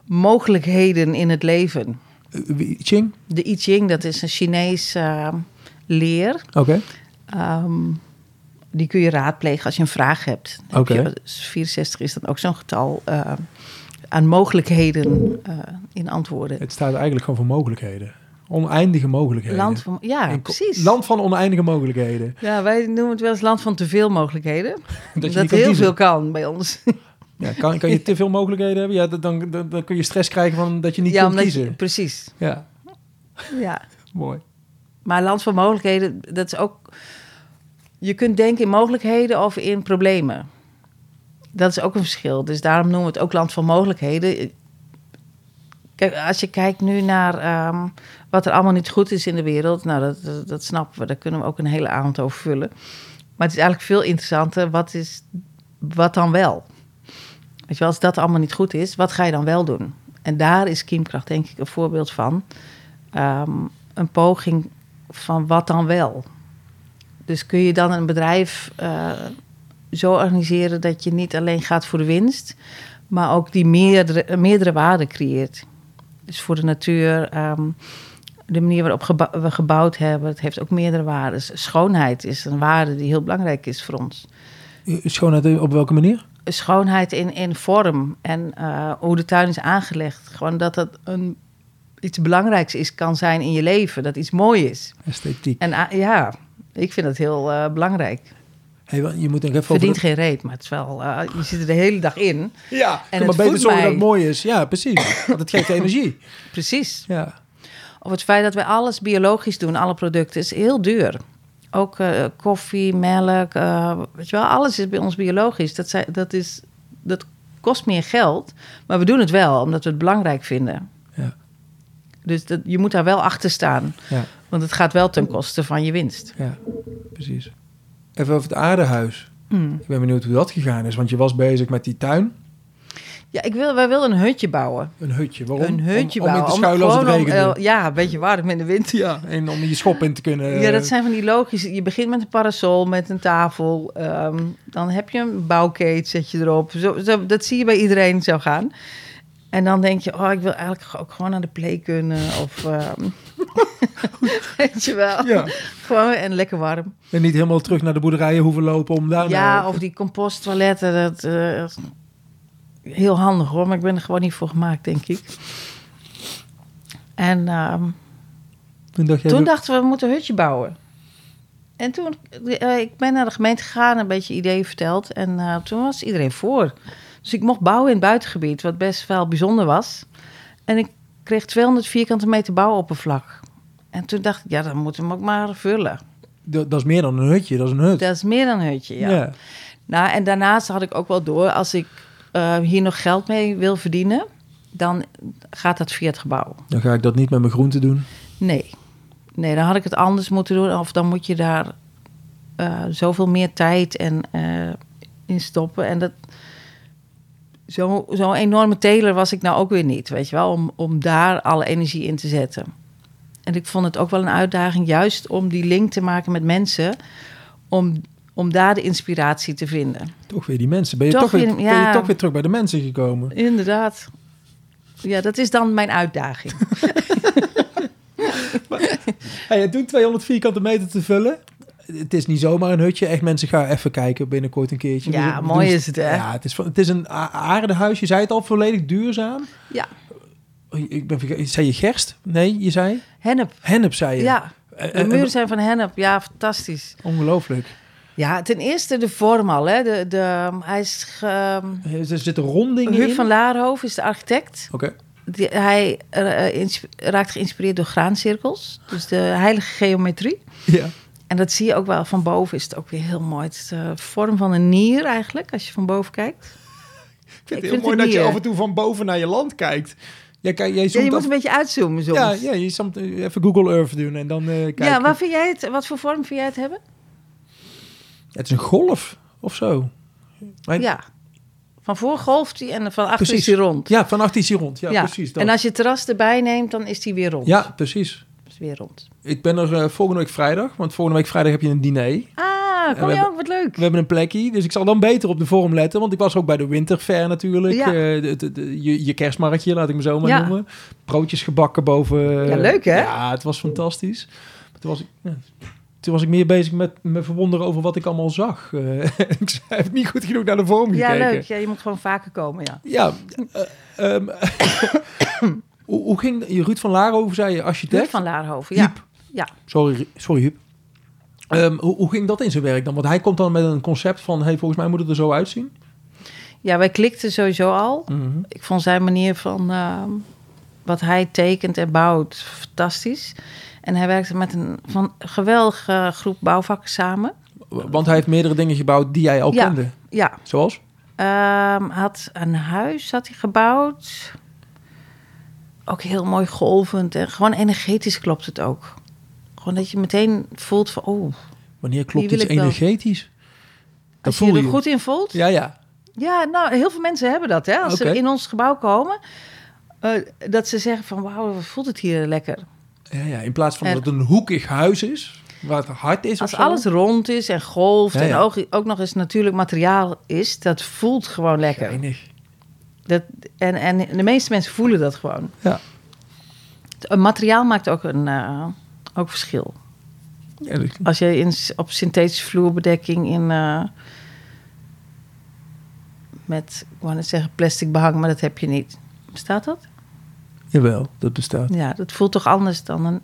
Speaker 1: mogelijkheden in het leven.
Speaker 2: Eh, wie- Ching?
Speaker 1: De I Ching, dat is een Chinees eh, leer.
Speaker 2: Oké.
Speaker 1: Ehm, die kun je raadplegen als je een vraag hebt. Dan heb
Speaker 2: Oké.
Speaker 1: je- dus 64 is dan ook zo'n getal eh, aan mogelijkheden eh, in antwoorden.
Speaker 2: Het staat eigenlijk gewoon voor mogelijkheden. Oneindige mogelijkheden.
Speaker 1: land van, ja,
Speaker 2: Een ko-
Speaker 1: precies.
Speaker 2: Land van oneindige mogelijkheden.
Speaker 1: Ja, wij noemen het wel eens land van te veel mogelijkheden.
Speaker 2: je
Speaker 1: Dat,
Speaker 2: niet kan
Speaker 1: heel
Speaker 2: kiezen.
Speaker 1: veel kan bij ons.
Speaker 2: Ja, kan, kan je te veel mogelijkheden hebben? Ja, dat- dan, dan, dan kun je stress krijgen van dat je niet
Speaker 1: ja,
Speaker 2: kunt
Speaker 1: omdat je-
Speaker 2: kiezen.
Speaker 1: precies.
Speaker 2: Ja,
Speaker 1: Ja.
Speaker 2: mooi.
Speaker 1: Maar land van mogelijkheden, dat is ook. Je kunt denken in mogelijkheden of in problemen. Dat is ook een verschil. Dus daarom noemen we het ook land van mogelijkheden. Kijk, als je kijkt nu naar ehm, wat er allemaal niet goed is in de wereld, nou, dat, dat, dat snappen we. Daar kunnen we ook een hele avond over vullen. Maar het is eigenlijk veel interessanter, wat, is, wat dan wel? Weet je wel, als dat allemaal niet goed is, wat ga je dan wel doen? En daar is kiemkracht denk ik een voorbeeld van. Ehm, een poging van wat dan wel. Dus kun je dan een bedrijf eh, zo organiseren dat je niet alleen gaat voor de winst, maar ook die meerdere, eh, meerdere waarden creëert. Dus voor de natuur, ehm, de manier waarop gebou- we gebouwd hebben, het heeft ook meerdere waarden. Schoonheid is een waarde die heel belangrijk is voor ons.
Speaker 2: Eh, Schoonheid op welke manier?
Speaker 1: Schoonheid in, in vorm en eh, hoe de tuin is aangelegd. Gewoon dat dat een, iets belangrijks is, kan zijn in je leven, dat iets mooi is.
Speaker 2: Esthetiek.
Speaker 1: En a- ja, ik vind dat heel eh, belangrijk. Het
Speaker 2: Hey, wa- je moet nog even
Speaker 1: verdient
Speaker 2: over...
Speaker 1: geen reet, maar het is wel, eh, je zit er de hele dag in.
Speaker 2: de- Ja, en
Speaker 1: het
Speaker 2: maar beter
Speaker 1: voedt
Speaker 2: zorgen
Speaker 1: mij.
Speaker 2: dat het mooi is. Ja, precies. Want het geeft energie.
Speaker 1: Precies.
Speaker 2: Ja.
Speaker 1: Of het feit dat wij alles biologisch doen, alle producten, is heel duur. Ook eh, koffie, melk, eh, weet je wel, alles is bij ons biologisch. Dat, zijn, dat, is, dat kost meer geld, maar we doen het wel omdat we het belangrijk vinden.
Speaker 2: Ja.
Speaker 1: Dus dat, je moet daar wel achter staan,
Speaker 2: Ja.
Speaker 1: want het gaat wel ten koste van je winst.
Speaker 2: Ja, precies. Even over het aardehuis. Ik ben benieuwd hoe dat gegaan is, want je was bezig met die tuin.
Speaker 1: Ja, ik wil, wij willen een hutje bouwen.
Speaker 2: Een hutje, waarom?
Speaker 1: Een hutje
Speaker 2: om, om in
Speaker 1: bouwen.
Speaker 2: te schuilen als het
Speaker 1: gewoon om-
Speaker 2: regende.
Speaker 1: eh, ja, een beetje warm in de winter.
Speaker 2: ja, en om je schop in te kunnen...
Speaker 1: Ja, dat zijn van die logische. Je begint met een parasol, met een tafel. ehm, dan heb je een bouwkeet, zet je erop. Zo, zo- dat zie je bij iedereen zo gaan. En dan denk je, oh, ik wil eigenlijk ook gewoon aan de play kunnen. Of, ehm, weet je wel.
Speaker 2: Ja.
Speaker 1: Gewoon en lekker warm.
Speaker 2: En niet helemaal terug naar de boerderijen hoeven lopen om daar...
Speaker 1: ja,
Speaker 2: nou-
Speaker 1: of die composttoiletten. Dat, eh, heel handig hoor, maar ik ben er gewoon niet voor gemaakt, denk ik. En ehm,
Speaker 2: Toen dacht je...
Speaker 1: Toen dachten we, we moeten een hutje bouwen. En toen, eh, ik ben naar de gemeente gegaan, een beetje ideeën verteld. En eh, toen was iedereen voor. Dus ik mocht bouwen in het buitengebied, wat best wel bijzonder was. En ik kreeg 200 vierkante meter bouwoppervlak. En toen dacht ik, ja, dan moeten we hem ook maar vullen.
Speaker 2: Dat, dat is meer dan een hutje, dat is een hut.
Speaker 1: Dat is meer dan een hutje, ja.
Speaker 2: ja.
Speaker 1: Nou, en daarnaast had ik ook wel door, als ik eh, hier nog geld mee wil verdienen, dan gaat dat via het gebouw.
Speaker 2: Dan ga ik dat niet met mijn groente doen.
Speaker 1: Nee. Nee, dan had ik het anders moeten doen. Of dan moet je daar eh, zoveel meer tijd en, eh, in stoppen. En dat. Zo'n zo zo'n enorme teler was ik nou ook weer niet, weet je wel, om, om daar alle energie in te zetten. En ik vond het ook wel een uitdaging, juist om die link te maken met mensen, om, om daar de inspiratie te vinden.
Speaker 2: Toch weer die mensen. Ben je toch,
Speaker 1: Toch
Speaker 2: weer,
Speaker 1: weer-
Speaker 2: ben je
Speaker 1: ja.
Speaker 2: toch weer terug bij de mensen gekomen?
Speaker 1: Inderdaad. Ja, dat is dan mijn uitdaging.
Speaker 2: Hey, en toen 200 vierkante meter te vullen. Het is niet zomaar een hutje. Echt, mensen gaan even kijken binnenkort een keertje.
Speaker 1: Ja,
Speaker 2: We- we
Speaker 1: mooi
Speaker 2: doen-
Speaker 1: is het, hè?
Speaker 2: Ja, het is, van- het is een a- aardehuis. Je zei het al, volledig duurzaam.
Speaker 1: Ja,
Speaker 2: Oh, Ik ben verge- zei je gerst? Nee, je zei
Speaker 1: hennep.
Speaker 2: hennep, zei je.
Speaker 1: Ja,
Speaker 2: Eh, eh,
Speaker 1: de muren zijn van hennep. Ja, fantastisch.
Speaker 2: Ongelooflijk.
Speaker 1: Ja, ten eerste de vorm al. Hè. De, de, hij is ge-
Speaker 2: Eh, Er zitten rondingen in.
Speaker 1: Huub van Laarhoofd is de architect.
Speaker 2: Oké.
Speaker 1: Die, hij eh, ins- raakt geïnspireerd door graancirkels. Dus de heilige geometrie.
Speaker 2: Ja.
Speaker 1: En dat zie je ook wel. Van boven is het ook weer heel mooi. Het is eh, de vorm van een nier eigenlijk, als je van boven kijkt.
Speaker 2: Ik vind
Speaker 1: Ik
Speaker 2: het heel
Speaker 1: vind
Speaker 2: mooi
Speaker 1: het
Speaker 2: dat
Speaker 1: niet,
Speaker 2: je
Speaker 1: hè?
Speaker 2: af en toe van boven naar je land kijkt. Jij, kijkt- jij
Speaker 1: Ja,
Speaker 2: zoomt
Speaker 1: je moet
Speaker 2: af-
Speaker 1: een beetje uitzoomen soms.
Speaker 2: ja, ja, je zoomt eh, even Google Earth doen en dan eh kijken.
Speaker 1: Ja, wat, vind jij het, wat voor vorm vind jij het hebben?
Speaker 2: Het is een golf of zo. En-
Speaker 1: Ja. Van voor golft hij en van achter
Speaker 2: Precies.
Speaker 1: is hij rond.
Speaker 2: Ja, vannacht is hij rond. Ja, precies. Dat.
Speaker 1: En als je het terras erbij neemt, dan is die weer rond.
Speaker 2: Ja, precies.
Speaker 1: Is weer rond.
Speaker 2: Ik ben er eh, volgende week vrijdag, want volgende week vrijdag heb je een diner.
Speaker 1: Ah, kom je
Speaker 2: we hebben-
Speaker 1: ook? Wat leuk.
Speaker 2: We hebben een plekje, dus ik zal dan beter op de vorm letten. Want ik was ook bij de Winterfair natuurlijk.
Speaker 1: Ja.
Speaker 2: Eh, de- de- de- je, je kerstmarktje, laat ik me zo maar
Speaker 1: Ja.
Speaker 2: noemen. Broodjes gebakken boven.
Speaker 1: Ja, leuk, hè?
Speaker 2: Ja, het was fantastisch. Maar toen was ik... ja, toen was ik meer bezig met me verwonderen over wat ik allemaal zag. Eh, ik heb niet goed genoeg naar de vorm
Speaker 1: ja,
Speaker 2: gekeken.
Speaker 1: leuk. Ja, je moet gewoon vaker komen, ja.
Speaker 2: Ja. eh, ehm, hoe, hoe ging... Ruud van Laarhoven, zei je, architect?
Speaker 1: Huub van Laarhoven, ja.
Speaker 2: Huub.
Speaker 1: Ja.
Speaker 2: Sorry, Ru- sorry Huub. Ehm, hoe, hoe ging dat in zijn werk dan? Want hij komt dan met een concept van... Hey, volgens mij moet het er zo uitzien.
Speaker 1: ja, wij klikten sowieso al.
Speaker 2: Mhm.
Speaker 1: Ik vond zijn manier van ehm, wat hij tekent en bouwt fantastisch. En hij werkte met een van geweldige groep bouwvakkers samen.
Speaker 2: Want hij heeft meerdere dingen gebouwd die jij al
Speaker 1: Ja.
Speaker 2: kende.
Speaker 1: Ja,
Speaker 2: Zoals?
Speaker 1: Ehm, had een huis had hij gebouwd. Ook heel mooi golvend. En gewoon energetisch klopt het ook. Gewoon dat je meteen voelt van... Oh,
Speaker 2: Wanneer klopt
Speaker 1: wil
Speaker 2: iets
Speaker 1: ik wel.
Speaker 2: energetisch?
Speaker 1: als je
Speaker 2: voel
Speaker 1: je er
Speaker 2: je.
Speaker 1: goed in voelt. Ja.
Speaker 2: Ja, ja.
Speaker 1: nou, heel veel mensen hebben dat. Hè? Als
Speaker 2: Oké.
Speaker 1: ze in ons gebouw komen... eh, dat ze zeggen van... Wauw, wat voelt het hier lekker.
Speaker 2: ja, ja. In plaats van
Speaker 1: En-
Speaker 2: dat het een hoekig huis is... waar het hard is
Speaker 1: Als
Speaker 2: of zo.
Speaker 1: alles rond is en golft...
Speaker 2: Ja,
Speaker 1: en
Speaker 2: ja.
Speaker 1: ook, ook nog eens natuurlijk materiaal is... dat voelt gewoon lekker.
Speaker 2: Geinig.
Speaker 1: Dat, en, en de meeste mensen voelen dat gewoon.
Speaker 2: Ja.
Speaker 1: Het materiaal maakt ook een eh, ook verschil.
Speaker 2: Ja, dat-
Speaker 1: Als je in, op synthetische vloerbedekking in... eh, met, ik wou net zeggen plastic behang, maar dat heb je niet. Bestaat dat?
Speaker 2: Jawel, dat bestaat.
Speaker 1: Ja, dat voelt toch anders dan een,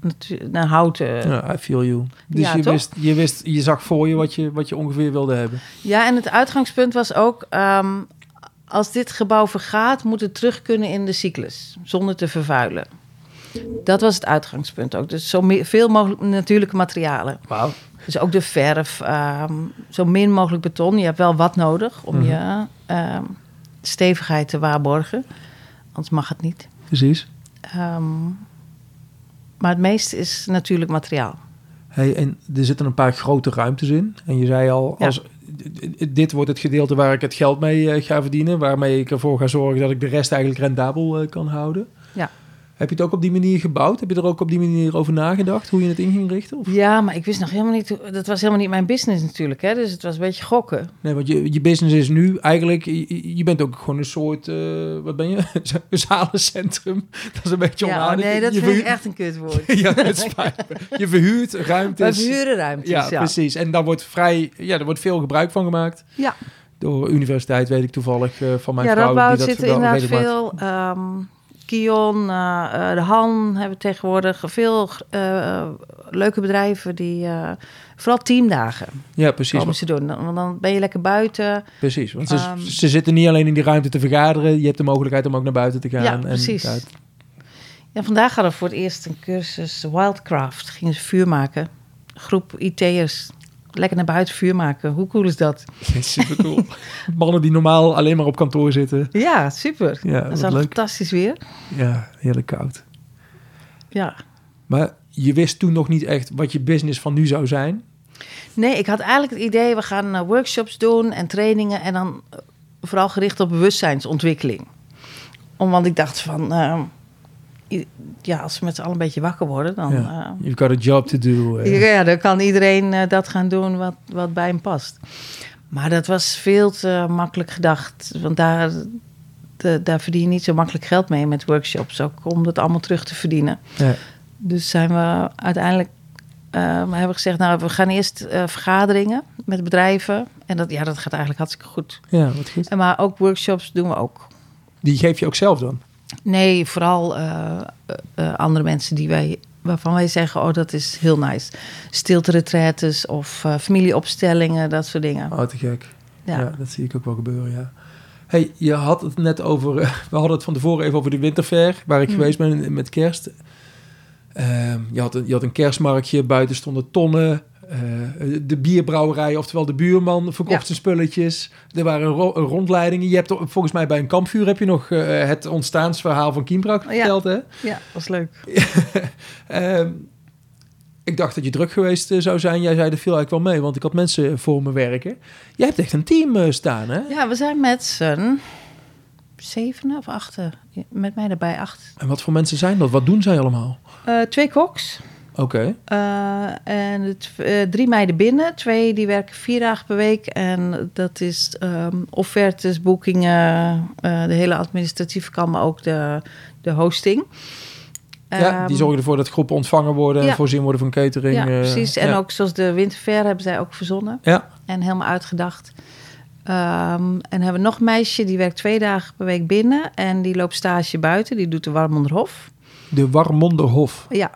Speaker 1: natu- een houten... Ja.
Speaker 2: Ja, I feel you. Dus
Speaker 1: Ja,
Speaker 2: je,
Speaker 1: toch?
Speaker 2: wist, je wist, je zag voor je wat je, wat je ongeveer wilde hebben.
Speaker 1: en het uitgangspunt was ook... ehm, als dit gebouw vergaat, moet het terug kunnen in de cyclus. Zonder te vervuilen. Dat was het uitgangspunt ook. Dus zo me- veel mogelijk natuurlijke materialen.
Speaker 2: Wauw.
Speaker 1: Dus ook de verf, ehm, zo min mogelijk beton. Je hebt wel wat nodig om je ehm, stevigheid te waarborgen. Anders mag het niet.
Speaker 2: Precies.
Speaker 1: Ehm, maar het meeste is natuurlijk materiaal.
Speaker 2: Hey, en er zitten een paar grote ruimtes in. En je zei al,
Speaker 1: Ja.
Speaker 2: als, d- d- dit wordt het gedeelte waar ik het geld mee eh, ga verdienen. Waarmee ik ervoor ga zorgen dat ik de rest eigenlijk rendabel eh, kan houden.
Speaker 1: Ja.
Speaker 2: Heb je het ook op die manier gebouwd? Heb je er ook op die manier over nagedacht hoe je het in ging richten? Of?
Speaker 1: Ja, maar ik wist nog helemaal niet... hoe- Dat was helemaal niet mijn business natuurlijk, hè? dus het was een beetje gokken.
Speaker 2: Nee, want je, je business is nu eigenlijk... Je, je bent ook gewoon een soort... eh, wat ben je? Een zalencentrum. Dat is een beetje
Speaker 1: ja,
Speaker 2: onaardig.
Speaker 1: nee, dat
Speaker 2: je
Speaker 1: vind ik echt een kutwoord.
Speaker 2: ja, dat spijt me. Je verhuurt
Speaker 1: Wij
Speaker 2: ruimtes.
Speaker 1: verhuren ruimtes,
Speaker 2: ja,
Speaker 1: Dus ja.
Speaker 2: precies. En daar wordt vrij... Ja, daar wordt veel gebruik van gemaakt.
Speaker 1: Ja.
Speaker 2: Door universiteit weet ik toevallig eh, van mijn
Speaker 1: ja,
Speaker 2: vrouw.
Speaker 1: Radboud
Speaker 2: die dat
Speaker 1: zit
Speaker 2: wel
Speaker 1: inderdaad
Speaker 2: redelijk maakt.
Speaker 1: veel. ehm, Kion, eh, eh, de Han hebben tegenwoordig veel eh, leuke bedrijven die eh, vooral teamdagen
Speaker 2: Ja, precies.
Speaker 1: komen ze doen. Dan- Want dan ben je lekker buiten.
Speaker 2: precies. Want ze,
Speaker 1: Ehm,
Speaker 2: ze zitten niet alleen in die ruimte te vergaderen. Je hebt de mogelijkheid om ook naar buiten te gaan.
Speaker 1: Ja,
Speaker 2: en
Speaker 1: precies.
Speaker 2: uit-
Speaker 1: Ja, vandaag hadden we voor het eerst een cursus wildcraft. Gingen ze vuur maken. Groep IT'ers. Lekker naar buiten vuur maken. Hoe cool is dat?
Speaker 2: super cool. Mannen die normaal alleen maar op kantoor zitten.
Speaker 1: Ja, super.
Speaker 2: Ja,
Speaker 1: dat is al
Speaker 2: wat leuk.
Speaker 1: fantastisch weer.
Speaker 2: Ja, heerlijk koud.
Speaker 1: Ja.
Speaker 2: Maar je wist toen nog niet echt wat je business van nu zou zijn.
Speaker 1: Nee, ik had eigenlijk het idee, we gaan eh, workshops doen en trainingen en dan eh, vooral gericht op bewustzijnsontwikkeling. Om, want ik dacht van, eh, i- ja, als we met z'n allen een beetje wakker worden, dan...
Speaker 2: Ja. You've got a job to do. eh.
Speaker 1: eh, ja, dan kan iedereen eh, dat gaan doen wat, wat bij hem past. Maar dat was veel te makkelijk gedacht, want daar, de- daar verdien je niet zo makkelijk geld mee met workshops, ook om dat allemaal terug te verdienen.
Speaker 2: Ja.
Speaker 1: Dus zijn we uiteindelijk eh, hebben we gezegd, nou, we gaan eerst eh, vergaderingen met bedrijven. En dat, ja, dat gaat eigenlijk hartstikke goed.
Speaker 2: ja, wat goed.
Speaker 1: En maar ook workshops doen we ook.
Speaker 2: Die geef je ook zelf dan?
Speaker 1: Nee, vooral eh, eh, eh, andere mensen die wij, waarvan wij zeggen, oh, dat is heel nice. Stilteretretes of eh, familieopstellingen, dat soort dingen.
Speaker 2: Oh, te gek. Ja.
Speaker 1: Ja.
Speaker 2: dat zie ik ook wel gebeuren, ja. Hey, je had
Speaker 1: Mm.
Speaker 2: het net over, eh, we hadden het van tevoren even over de winterfair, waar ik geweest ben met kerst. Ehm, je, had een, je had een kerstmarktje, buiten stonden tonnen. Eh, de bierbrouwerij, oftewel de buurman, verkocht
Speaker 1: Ja.
Speaker 2: zijn spulletjes. Er waren ro- rondleidingen. Je hebt volgens mij bij een kampvuur heb je nog eh, het ontstaansverhaal van Kienbrak
Speaker 1: Ja.
Speaker 2: verteld. Hè?
Speaker 1: Ja, was leuk.
Speaker 2: Ehm, ik dacht dat je druk geweest eh, zou zijn. Jij zei er viel eigenlijk wel mee, want ik had mensen voor me werken. Jij hebt echt een team eh, staan, hè?
Speaker 1: Ja, we zijn met z'n zevenen of achten. Ja, Met mij erbij acht.
Speaker 2: En wat voor mensen zijn dat? Wat doen zij allemaal?
Speaker 1: Eh, twee koks.
Speaker 2: Oké.
Speaker 1: eh, en het, eh, drie meiden binnen. Twee die werken vier dagen per week. En dat is ehm, offertes, boekingen, eh, de hele administratieve kan, maar ook de, de hosting.
Speaker 2: ja,
Speaker 1: Ehm,
Speaker 2: die zorgen ervoor dat groepen ontvangen worden, en
Speaker 1: ja.
Speaker 2: voorzien worden van catering.
Speaker 1: Ja,
Speaker 2: eh,
Speaker 1: precies. En
Speaker 2: ja.
Speaker 1: ook zoals de winterfair hebben zij ook verzonnen.
Speaker 2: Ja.
Speaker 1: En helemaal uitgedacht. Ehm, en hebben we nog een meisje, die werkt twee dagen per week binnen. En die loopt stage buiten. Die doet de Warmonderhof.
Speaker 2: De Warmonderhof.
Speaker 1: Ja,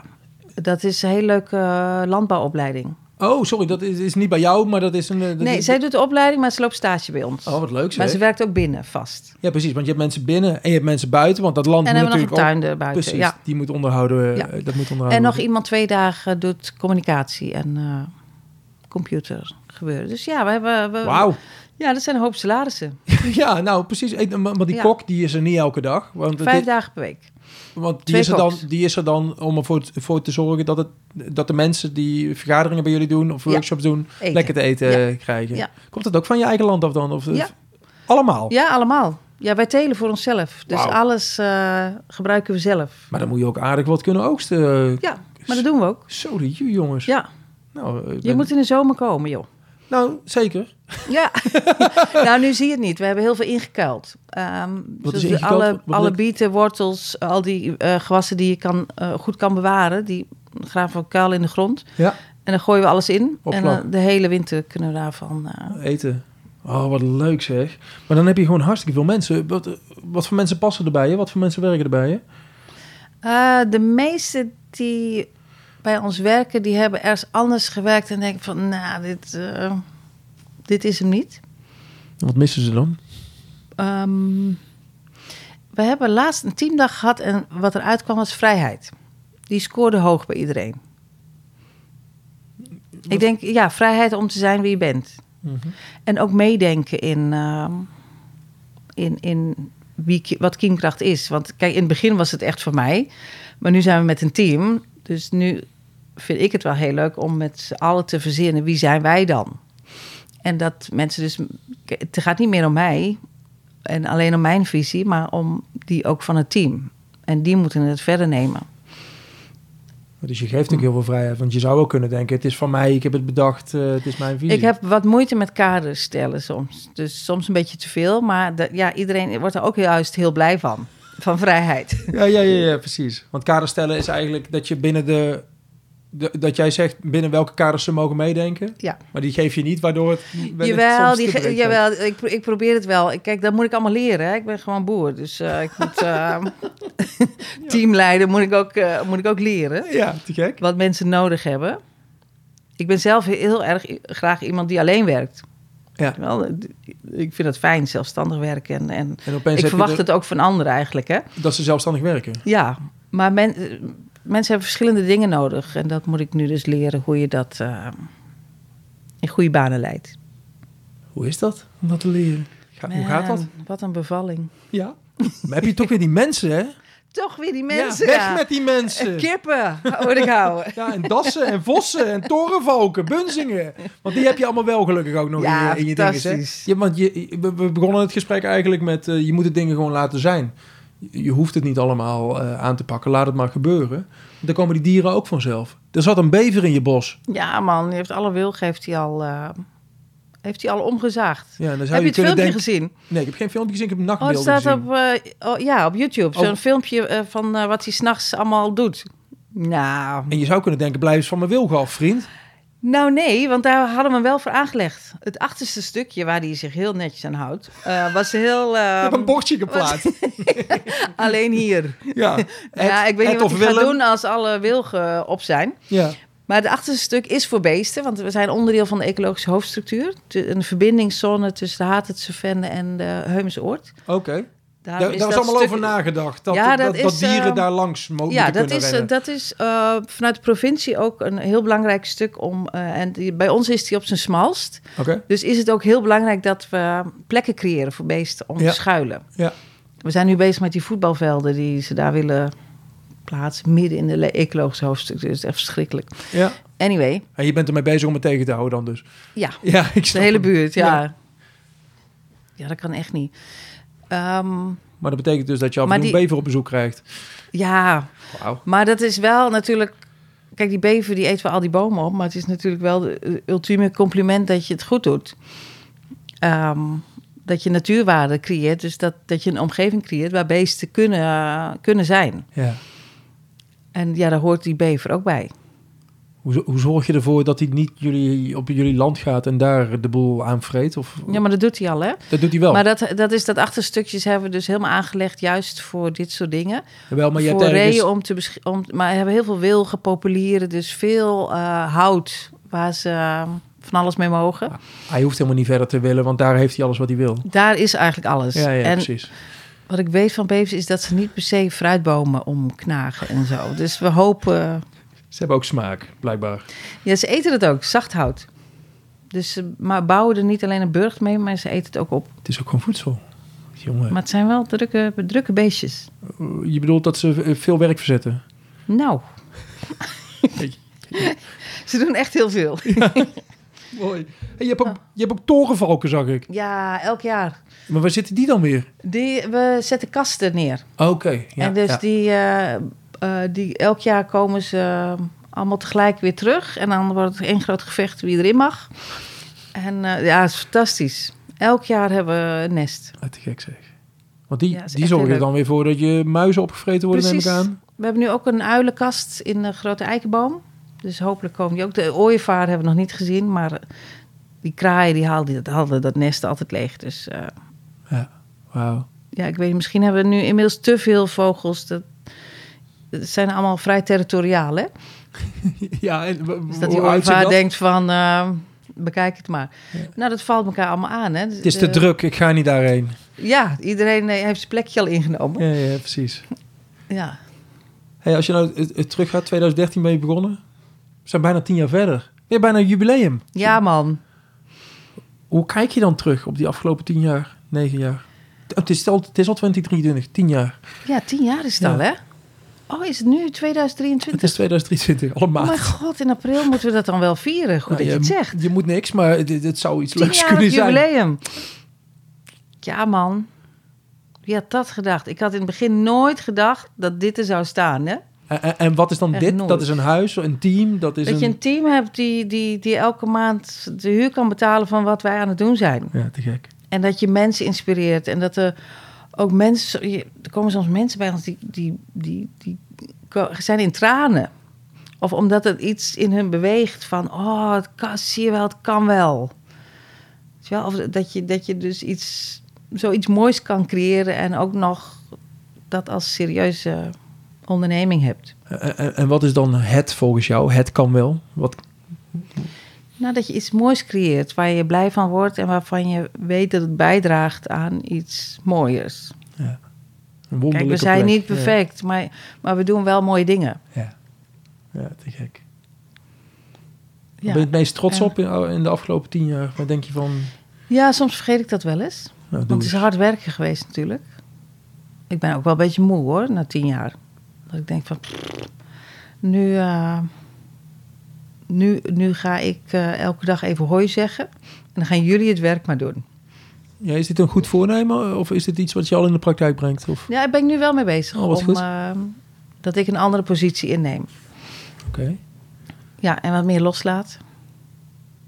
Speaker 1: dat is een hele leuke eh, landbouwopleiding.
Speaker 2: Oh, sorry, dat is, is niet bij jou, maar dat is een... eh, dat
Speaker 1: Nee,
Speaker 2: is-
Speaker 1: zij doet de opleiding, maar ze loopt stage bij ons.
Speaker 2: Oh, wat leuk zeg.
Speaker 1: maar ze werkt ook binnen, vast.
Speaker 2: Ja, precies, want je hebt mensen binnen en je hebt mensen buiten, want dat land
Speaker 1: En
Speaker 2: moet
Speaker 1: hebben we nog
Speaker 2: natuurlijk
Speaker 1: een tuin erbuiten.
Speaker 2: ook... Precies,
Speaker 1: Ja.
Speaker 2: die moet onderhouden, eh,
Speaker 1: Ja.
Speaker 2: dat moet onderhouden
Speaker 1: En nog
Speaker 2: worden.
Speaker 1: iemand twee dagen doet communicatie en eh, computer gebeuren. Dus ja, we hebben... we-
Speaker 2: Wauw.
Speaker 1: Ja, dat zijn een hoop salarissen.
Speaker 2: Ja, nou precies. Ik- Want die
Speaker 1: Ja.
Speaker 2: kok die is er niet elke dag. Want, het
Speaker 1: Vijf
Speaker 2: is-
Speaker 1: dagen per week.
Speaker 2: want die,
Speaker 1: twee
Speaker 2: is er dan,
Speaker 1: koks.
Speaker 2: die is er dan om ervoor t- voor te zorgen dat, het, dat de mensen die vergaderingen bij jullie doen of
Speaker 1: Ja.
Speaker 2: workshops doen,
Speaker 1: Eten.
Speaker 2: lekker te eten eh, krijgen.
Speaker 1: Ja.
Speaker 2: Komt dat ook van je eigen land af dan? Of,
Speaker 1: Ja.
Speaker 2: Allemaal?
Speaker 1: Ja, allemaal. Ja, wij telen voor onszelf. Dus
Speaker 2: Wauw.
Speaker 1: alles eh, gebruiken we zelf.
Speaker 2: Maar dan moet je ook aardig wat kunnen oogsten. eh.
Speaker 1: Ja, maar dat doen we ook.
Speaker 2: Zo de ju, jongens.
Speaker 1: Ja,
Speaker 2: Nou, eh,
Speaker 1: je
Speaker 2: ben-
Speaker 1: moet in de zomer komen, joh.
Speaker 2: nou, zeker.
Speaker 1: Ja. nou, nu zie je het niet. We hebben heel veel ingekuild. Ehm,
Speaker 2: Wat
Speaker 1: dus
Speaker 2: is ingekuild?
Speaker 1: Alle,
Speaker 2: Wat bedoel
Speaker 1: alle
Speaker 2: ik?
Speaker 1: bieten, wortels, al die eh, gewassen die je kan, eh, goed kan bewaren... die graven we kuil in de grond.
Speaker 2: Ja.
Speaker 1: En dan gooien we alles in.
Speaker 2: Opslag.
Speaker 1: En eh, de hele winter kunnen we daarvan... eh,
Speaker 2: Eten. Oh, wat leuk zeg. Maar dan heb je gewoon hartstikke veel mensen. Wat, eh, wat voor mensen passen erbij je? Wat voor mensen werken erbij je?
Speaker 1: Eh, de meeste die bij ons werken, die hebben ergens anders gewerkt en denken van, nou, dit, eh, dit is hem niet.
Speaker 2: Wat missen ze dan?
Speaker 1: Ehm, we hebben laatst een teamdag gehad en wat eruit kwam was vrijheid. Die scoorde hoog bij iedereen. Ik denk, ja, vrijheid om te zijn wie je bent.
Speaker 2: Mhm.
Speaker 1: En ook meedenken in, ehm, in, in wie, ki- wat kiemkracht is. Want kijk, in het begin was het echt voor mij. Maar nu zijn we met een team. Dus nu vind ik het wel heel leuk om met z'n allen te verzinnen. Wie zijn wij dan? En dat mensen dus... k- Het gaat niet meer om mij en alleen om mijn visie... maar om die ook van het team. En die moeten het verder nemen.
Speaker 2: Dus je geeft ook heel veel vrijheid. Want je zou wel kunnen denken, het is van mij, ik heb het bedacht, eh, het is mijn visie.
Speaker 1: Ik heb wat moeite met kaders stellen soms. Dus soms een beetje te veel. Maar de- ja, iedereen wordt er ook juist heel blij van. Van vrijheid.
Speaker 2: Ja, ja, ja, ja, precies. Want kaders stellen is eigenlijk dat je binnen de... de- dat jij zegt binnen welke kaders ze mogen meedenken.
Speaker 1: Ja.
Speaker 2: Maar die geef je niet, waardoor het... wel eens
Speaker 1: Jawel,
Speaker 2: soms
Speaker 1: die,
Speaker 2: te
Speaker 1: ge-
Speaker 2: breed wordt.
Speaker 1: jawel ik, pro- ik probeer het wel. Ik- Kijk, dat moet ik allemaal leren. Hè. Ik ben gewoon boer. Dus eh, ik moet eh, teamleider moet ik, ook, eh, moet ik ook leren.
Speaker 2: Ja, te gek.
Speaker 1: Wat mensen nodig hebben. Ik ben zelf heel erg i- graag iemand die alleen werkt.
Speaker 2: Ja.
Speaker 1: Wel, eh, d- ik vind het fijn, zelfstandig werken. En, en
Speaker 2: En opeens
Speaker 1: ik
Speaker 2: heb
Speaker 1: verwacht
Speaker 2: je
Speaker 1: het ook van anderen eigenlijk. Hè?
Speaker 2: de- dat ze zelfstandig werken.
Speaker 1: Ja, maar men, eh, mensen hebben verschillende dingen nodig. En dat moet ik nu dus leren hoe je dat eh, in goede banen leidt.
Speaker 2: Hoe is dat om dat te leren? Ga- hoe gaat dat?
Speaker 1: Man, Wat een bevalling.
Speaker 2: Ja. Maar heb je toch weer die mensen, hè?
Speaker 1: Toch weer die mensen.
Speaker 2: ja, weg
Speaker 1: ja.
Speaker 2: met die
Speaker 1: En
Speaker 2: mensen.
Speaker 1: Kippen, hoor ik houden.
Speaker 2: Ja, en dassen en vossen en torenvalken, bunzingen. Want die heb je allemaal wel gelukkig ook nog
Speaker 1: Ja,
Speaker 2: in, je, in je dinges, hè?
Speaker 1: fantastisch.
Speaker 2: Ja, want je, we we begonnen het gesprek eigenlijk met... eh, je moet de dingen gewoon laten zijn. Je je hoeft het niet allemaal eh, aan te pakken. Laat het maar gebeuren. Want dan komen die dieren ook vanzelf. Er zat een bever in je bos.
Speaker 1: Ja man, die heeft alle wilg heeft hij al, eh, heeft hij al omgezaagd.
Speaker 2: Ja, en dan zou
Speaker 1: Heb je
Speaker 2: je
Speaker 1: het
Speaker 2: kunnen
Speaker 1: filmpje
Speaker 2: denken...
Speaker 1: gezien?
Speaker 2: Nee, ik heb geen filmpje gezien. Ik heb een
Speaker 1: Oh, het
Speaker 2: nachtbeelden
Speaker 1: staat
Speaker 2: gezien.
Speaker 1: op, eh, oh, ja, op YouTube. Zo'n
Speaker 2: Oh.
Speaker 1: filmpje eh, van eh, wat hij s'nachts allemaal doet. Nou,
Speaker 2: En je zou kunnen denken, blijf eens van mijn wilgen af, vriend.
Speaker 1: Nou nee, want daar hadden we hem wel voor aangelegd. Het achterste stukje waar hij zich heel netjes aan houdt, eh, was heel
Speaker 2: Ik
Speaker 1: eh,
Speaker 2: heb een bordje geplaatst.
Speaker 1: alleen hier. ja,
Speaker 2: Ja, Het-
Speaker 1: ik weet niet
Speaker 2: het
Speaker 1: wat
Speaker 2: of
Speaker 1: hij gaat
Speaker 2: Willem.
Speaker 1: doen als alle wilgen op zijn.
Speaker 2: Ja.
Speaker 1: Maar het achterste stuk is voor beesten, want we zijn onderdeel van de ecologische hoofdstructuur. Tu- Een verbindingszone tussen de Hatertse Vende en de Heumense Oort.
Speaker 2: Oké. Daar,
Speaker 1: Daarom
Speaker 2: daar is,
Speaker 1: Nou, dat
Speaker 2: allemaal
Speaker 1: stuk-
Speaker 2: over nagedacht. Dat,
Speaker 1: Ja,
Speaker 2: dat,
Speaker 1: dat
Speaker 2: dat
Speaker 1: is,
Speaker 2: dieren
Speaker 1: ehm,
Speaker 2: daar langs mo-
Speaker 1: Ja, dat
Speaker 2: moeten kunnen
Speaker 1: is,
Speaker 2: rennen.
Speaker 1: dat is eh, vanuit de provincie ook een heel belangrijk stuk om. eh, en die- bij ons is die op zijn smalst.
Speaker 2: Oké,
Speaker 1: Dus is het ook heel belangrijk dat we plekken creëren voor beesten om
Speaker 2: Ja.
Speaker 1: te schuilen.
Speaker 2: Ja.
Speaker 1: We zijn nu bezig met die voetbalvelden die ze daar willen plaatsen. Midden in de le- ecologische hoofdstuk. Dus het is echt verschrikkelijk.
Speaker 2: ja.
Speaker 1: Anyway,
Speaker 2: En je bent ermee bezig om het tegen te houden dan dus.
Speaker 1: ja.
Speaker 2: Ja, ik
Speaker 1: De
Speaker 2: snap
Speaker 1: hele
Speaker 2: hem.
Speaker 1: buurt, ja. ja. dat kan echt niet. Ehm,
Speaker 2: Maar dat betekent dus dat je af en
Speaker 1: Maar
Speaker 2: toe een
Speaker 1: die-
Speaker 2: bever op bezoek krijgt.
Speaker 1: ja,
Speaker 2: Wauw.
Speaker 1: maar dat is wel natuurlijk... Kijk, die bever die eet wel al die bomen op. Maar het is natuurlijk wel de eh, ultieme compliment dat je het goed doet. Ehm, dat je natuurwaarde creëert. Dus dat, dat je een omgeving creëert waar beesten kunnen, kunnen zijn.
Speaker 2: Ja.
Speaker 1: En ja, daar hoort die bever ook bij.
Speaker 2: Hoe, hoe zorg je ervoor dat hij niet jullie, op jullie land gaat en daar de boel aanvreet? Of,
Speaker 1: Ja, maar dat doet hij al, hè?
Speaker 2: Dat doet hij wel.
Speaker 1: Maar dat, dat, is, dat achterstukjes hebben we dus helemaal aangelegd juist voor dit soort dingen.
Speaker 2: Jawel, maar je hebt dus-
Speaker 1: voor
Speaker 2: ergens...
Speaker 1: reeën om te besch- om, Maar we hebben heel veel wilgen, populieren, dus veel eh, hout waar ze eh, van alles mee
Speaker 2: Ah.
Speaker 1: mogen.
Speaker 2: Hij hoeft helemaal niet verder te willen, want daar heeft hij alles wat hij wil.
Speaker 1: Daar is eigenlijk alles.
Speaker 2: Ja, ja
Speaker 1: en
Speaker 2: precies.
Speaker 1: wat ik weet van bevers is dat ze niet per se fruitbomen omknagen en zo. Dus we hopen.
Speaker 2: Ze hebben ook smaak, blijkbaar.
Speaker 1: Ja, ze eten het ook, zacht hout. Dus ze maar bouwen er niet alleen een burcht mee, maar ze eten het ook op.
Speaker 2: Het is ook gewoon voedsel. Jongen,
Speaker 1: Maar het zijn wel drukke, drukke beestjes.
Speaker 2: je bedoelt dat ze eh, veel werk verzetten?
Speaker 1: Nou. Ze doen echt heel veel.
Speaker 2: Mooi. Hey, je, hebt ook, je hebt ook torenvalken, zag ik.
Speaker 1: Ja, elk jaar.
Speaker 2: Maar waar zitten die dan weer?
Speaker 1: Die, we zetten kasten neer.
Speaker 2: Oké. ja,
Speaker 1: en dus
Speaker 2: ja.
Speaker 1: die, eh, eh, die, elk jaar komen ze eh, allemaal tegelijk weer terug. En dan wordt het één groot gevecht wie erin mag. En eh, ja, het is fantastisch. Elk jaar hebben we een nest.
Speaker 2: Ah, te gek zeg. Want die,
Speaker 1: Ja, is
Speaker 2: die
Speaker 1: echt
Speaker 2: zorgen
Speaker 1: heel
Speaker 2: er dan weer voor dat je muizen opgevreten worden, neem ik
Speaker 1: Precies.
Speaker 2: aan.
Speaker 1: We hebben nu ook een uilenkast in de grote eikenboom. Dus hopelijk komen die ook. De ooievaar hebben we nog niet gezien. Maar eh, die kraaien die haalden, dat- hadden dat nest altijd leeg. Dus eh,
Speaker 2: Wauw.
Speaker 1: ja, ik weet niet, misschien hebben we nu inmiddels te veel vogels. Dat, dat zijn allemaal vrij territoriaal, hè?
Speaker 2: ja, en w-
Speaker 1: Dus
Speaker 2: w-
Speaker 1: dat die
Speaker 2: hoe uitziet
Speaker 1: OVA
Speaker 2: dat?
Speaker 1: denkt van, eh, bekijk het maar. Nou, dat valt elkaar allemaal aan, hè? Dus,
Speaker 2: Het is te
Speaker 1: eh,
Speaker 2: druk, ik ga niet daarheen.
Speaker 1: Ja, iedereen eh, heeft zijn plekje al ingenomen.
Speaker 2: Ja, ja precies.
Speaker 1: Ja.
Speaker 2: Hey, als je nou eh, eh, terug gaat, 2013 ben je begonnen. We zijn bijna tien jaar verder. Weer bijna een jubileum.
Speaker 1: ja, man.
Speaker 2: Hoe kijk je dan terug op die afgelopen tien jaar, negen jaar? Oh, Het is al, het is al 2023, tien jaar.
Speaker 1: Ja, tien jaar is het
Speaker 2: Ja.
Speaker 1: al, hè? Oh, is het nu 2023?
Speaker 2: Het is 2023, allemaal.
Speaker 1: Oh mijn god, in april moeten we dat dan wel vieren. Goed dat je het zegt.
Speaker 2: Nou, Je moet niks, maar het, het zou iets
Speaker 1: Tien
Speaker 2: leuks
Speaker 1: jaar het
Speaker 2: kunnen zijn.
Speaker 1: jubileum. Ja, man. Wie had dat gedacht? Ik had in het begin nooit gedacht dat dit er zou staan, hè?
Speaker 2: En, en- en wat is dan
Speaker 1: Echt
Speaker 2: dit?
Speaker 1: nooit.
Speaker 2: Dat is een huis, een team. Dat is
Speaker 1: dat je een team hebt die, die, die elke maand de huur kan betalen van wat wij aan het doen zijn.
Speaker 2: Ja, te gek.
Speaker 1: En dat je mensen inspireert. En dat er ook mensen... je- Er komen soms mensen bij ons die, die, die, die ko- zijn in tranen. Of omdat het iets in hun beweegt van... Oh, het kan, zie je wel, het kan wel. Weet je wel? Of dat je, dat je dus iets, zoiets moois kan creëren... en ook nog dat als serieuze onderneming hebt.
Speaker 2: En, en- en wat is dan het volgens jou? Het kan wel. Wat,
Speaker 1: Nou, dat je iets moois creëert waar je blij van wordt en waarvan je weet dat het bijdraagt aan iets mooiers.
Speaker 2: een wonderlijke
Speaker 1: Kijk, we zijn
Speaker 2: plek.
Speaker 1: niet perfect, maar, maar we doen wel mooie dingen.
Speaker 2: Ja, ja. ja te gek. Waar
Speaker 1: Ja.
Speaker 2: Ben je het meest trots
Speaker 1: En-
Speaker 2: op in, in de afgelopen tien jaar? Waar denk je van?
Speaker 1: ja, soms vergeet ik dat wel eens.
Speaker 2: Nou, doe
Speaker 1: Want het
Speaker 2: eens.
Speaker 1: is hard werken geweest natuurlijk. Ik ben ook wel een beetje moe hoor, na tien jaar. Dat ik denk van, pff, nu, eh, nu, nu ga ik eh, elke dag even hoi zeggen. En dan gaan jullie het werk maar doen.
Speaker 2: Ja, is dit een goed voornemen of is dit iets wat je al in de praktijk brengt? Of?
Speaker 1: Ja, daar ben ik nu wel mee bezig.
Speaker 2: Oh, wat
Speaker 1: om,
Speaker 2: goed.
Speaker 1: eh, dat ik een andere positie inneem.
Speaker 2: Oké.
Speaker 1: Ja, en wat meer loslaat.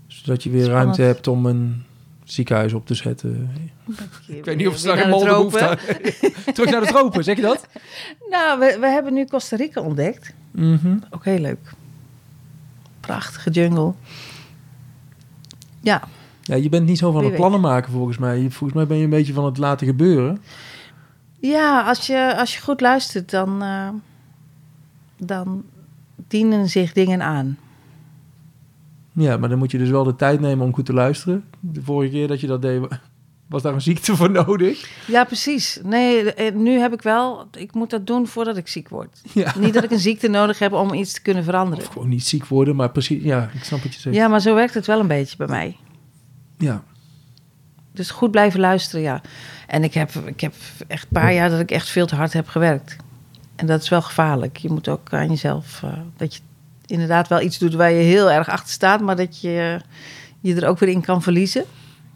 Speaker 2: Zodat je weer
Speaker 1: Spannend.
Speaker 2: ruimte hebt om een ziekenhuis op te zetten. Ik weet niet of ze daar
Speaker 1: Weer
Speaker 2: helemaal
Speaker 1: naar de
Speaker 2: behoefte
Speaker 1: tropen.
Speaker 2: aan- Terug naar de tropen, zeg je dat?
Speaker 1: Nou, we, we hebben nu Costa Rica ontdekt.
Speaker 2: Mhm.
Speaker 1: Ook heel leuk. Prachtige jungle. Ja,
Speaker 2: Ja, je bent niet zo van
Speaker 1: Wie
Speaker 2: het
Speaker 1: weet.
Speaker 2: plannen maken volgens mij. Je- Volgens mij ben je een beetje van het laten gebeuren.
Speaker 1: ja als, je, als je goed luistert, dan, eh, dan dienen zich dingen aan.
Speaker 2: Ja, maar dan moet je dus wel de tijd nemen om goed te luisteren. De vorige keer dat je dat deed, Was daar een ziekte voor nodig?
Speaker 1: Ja, precies. Nee, eh, nu heb ik wel... Ik moet dat doen voordat ik ziek word.
Speaker 2: Ja.
Speaker 1: Niet dat ik een ziekte nodig heb om iets te kunnen veranderen.
Speaker 2: Of gewoon niet ziek worden, maar precies. Ja, ik snap wat je zegt.
Speaker 1: Ja, maar zo werkt het wel een beetje bij mij.
Speaker 2: ja.
Speaker 1: Dus goed blijven luisteren, ja. En ik heb, ik heb echt een paar jaar dat ik echt veel te hard heb gewerkt. En dat is wel gevaarlijk. Je moet ook aan jezelf... eh, dat je inderdaad wel iets doet waar je heel erg achter staat... maar dat je je er ook weer in kan verliezen.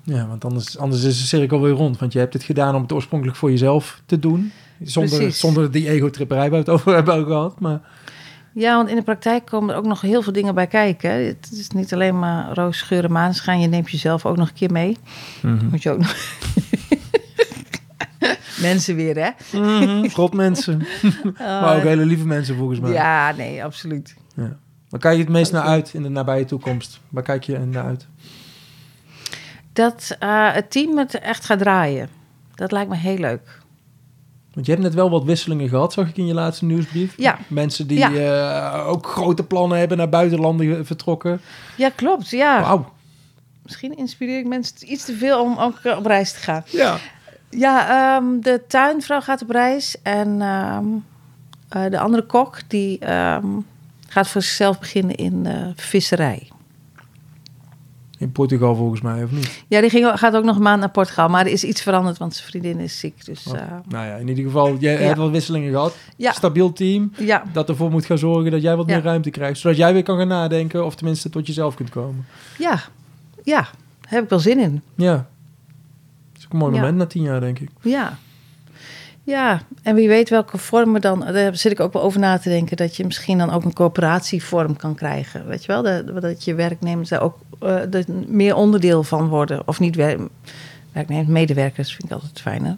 Speaker 2: Ja, want anders, anders is de cirkel weer rond. Want je hebt het gedaan om het oorspronkelijk voor jezelf te doen. Zonder,
Speaker 1: Precies.
Speaker 2: zonder die ego-tripperij waar we het over hebben gehad. Maar
Speaker 1: Ja, want in de praktijk komen er ook nog heel veel dingen bij kijken. hè. Het is niet alleen maar roos, scheur en maanschijn. Je neemt jezelf ook nog een keer mee. Moet je ook nog... Mensen weer, hè? Eh,
Speaker 2: god Mhm. mensen. maar ook hele lieve mensen
Speaker 1: dus
Speaker 2: volgens mij.
Speaker 1: Ja, nee, absoluut.
Speaker 2: Waar kijk je het meest naar uit in de nabije toekomst? Waar kijk je naar uit?
Speaker 1: Dat eh, het team het echt gaat draaien. Dat lijkt me heel leuk.
Speaker 2: Want je hebt net wel wat wisselingen gehad, zag ik in je laatste nieuwsbrief.
Speaker 1: Ja.
Speaker 2: Mensen die
Speaker 1: Ja.
Speaker 2: eh, ook grote plannen hebben naar buitenlanden ge- vertrokken.
Speaker 1: Ja, klopt. Ja.
Speaker 2: Wauw.
Speaker 1: Misschien inspireer ik mensen iets te veel om ook eh, op reis te gaan.
Speaker 2: Ja.
Speaker 1: Ja, ehm, de tuinvrouw gaat op reis. En ehm, eh, de andere kok die ehm, gaat voor zichzelf beginnen in eh, visserij.
Speaker 2: In Portugal volgens mij, of niet?
Speaker 1: Ja, die ging, gaat ook nog een maand naar Portugal. Maar er is iets veranderd, want zijn vriendin is ziek. Dus
Speaker 2: Oh.
Speaker 1: eh,
Speaker 2: Nou ja, in ieder geval, jij
Speaker 1: Ja.
Speaker 2: hebt wat wisselingen gehad.
Speaker 1: ja,
Speaker 2: Stabiel team.
Speaker 1: ja,
Speaker 2: dat ervoor moet gaan zorgen dat jij wat
Speaker 1: Ja.
Speaker 2: meer ruimte krijgt. Zodat jij weer kan gaan nadenken of tenminste tot jezelf kunt komen.
Speaker 1: ja, ja. Daar heb ik wel zin in.
Speaker 2: Ja. Dat is ook een mooi
Speaker 1: Ja.
Speaker 2: moment na tien jaar, denk ik.
Speaker 1: Ja. Ja, en wie weet welke vormen dan... Daar zit ik ook wel over na te denken... dat je misschien dan ook een coöperatievorm kan krijgen. Weet je wel? Dat, dat je werknemers daar ook eh, dat meer onderdeel van worden. Of niet wer- werknemers, medewerkers vind ik altijd fijner.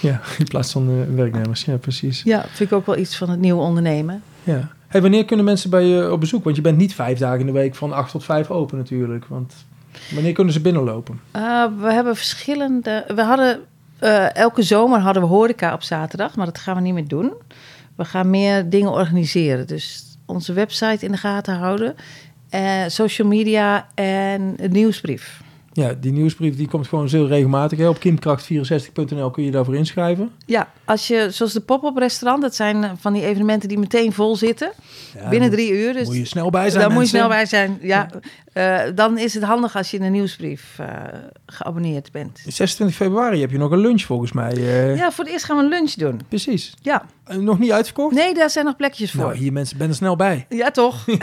Speaker 2: Ja, in plaats van eh, werknemers. Ja, precies.
Speaker 1: Ja, vind ik ook wel iets van het nieuwe ondernemen.
Speaker 2: Ja. Hey, wanneer kunnen mensen bij je op bezoek? Want je bent niet vijf dagen in de week van acht tot vijf open natuurlijk. Want wanneer kunnen ze binnenlopen?
Speaker 1: Eh, we hebben verschillende. We hadden eh, elke zomer hadden we horeca op zaterdag, maar dat gaan we niet meer doen. We gaan meer dingen organiseren. Dus onze website in de gaten houden, eh, social media en een nieuwsbrief.
Speaker 2: Ja, die nieuwsbrief die komt gewoon heel regelmatig. Hè? Op kimkracht64.nl kun je daarvoor inschrijven.
Speaker 1: Ja, als je, zoals de pop-up restaurant, dat zijn eh, van die evenementen die meteen vol zitten. binnen drie uur. Dus
Speaker 2: Moet je snel bij zijn,
Speaker 1: daar moet je
Speaker 2: mensen.
Speaker 1: snel bij zijn. Ja, eh, dan is het handig als je in de nieuwsbrief eh, geabonneerd bent.
Speaker 2: 26 februari heb je nog een lunch volgens mij. eh.
Speaker 1: Ja, voor het eerst gaan we een lunch doen.
Speaker 2: Precies.
Speaker 1: Ja,
Speaker 2: Eh, Nog niet uitverkocht?
Speaker 1: nee, daar zijn nog plekjes voor.
Speaker 2: Nou, hier mensen, ben er snel bij.
Speaker 1: Ja, toch?
Speaker 2: Ah,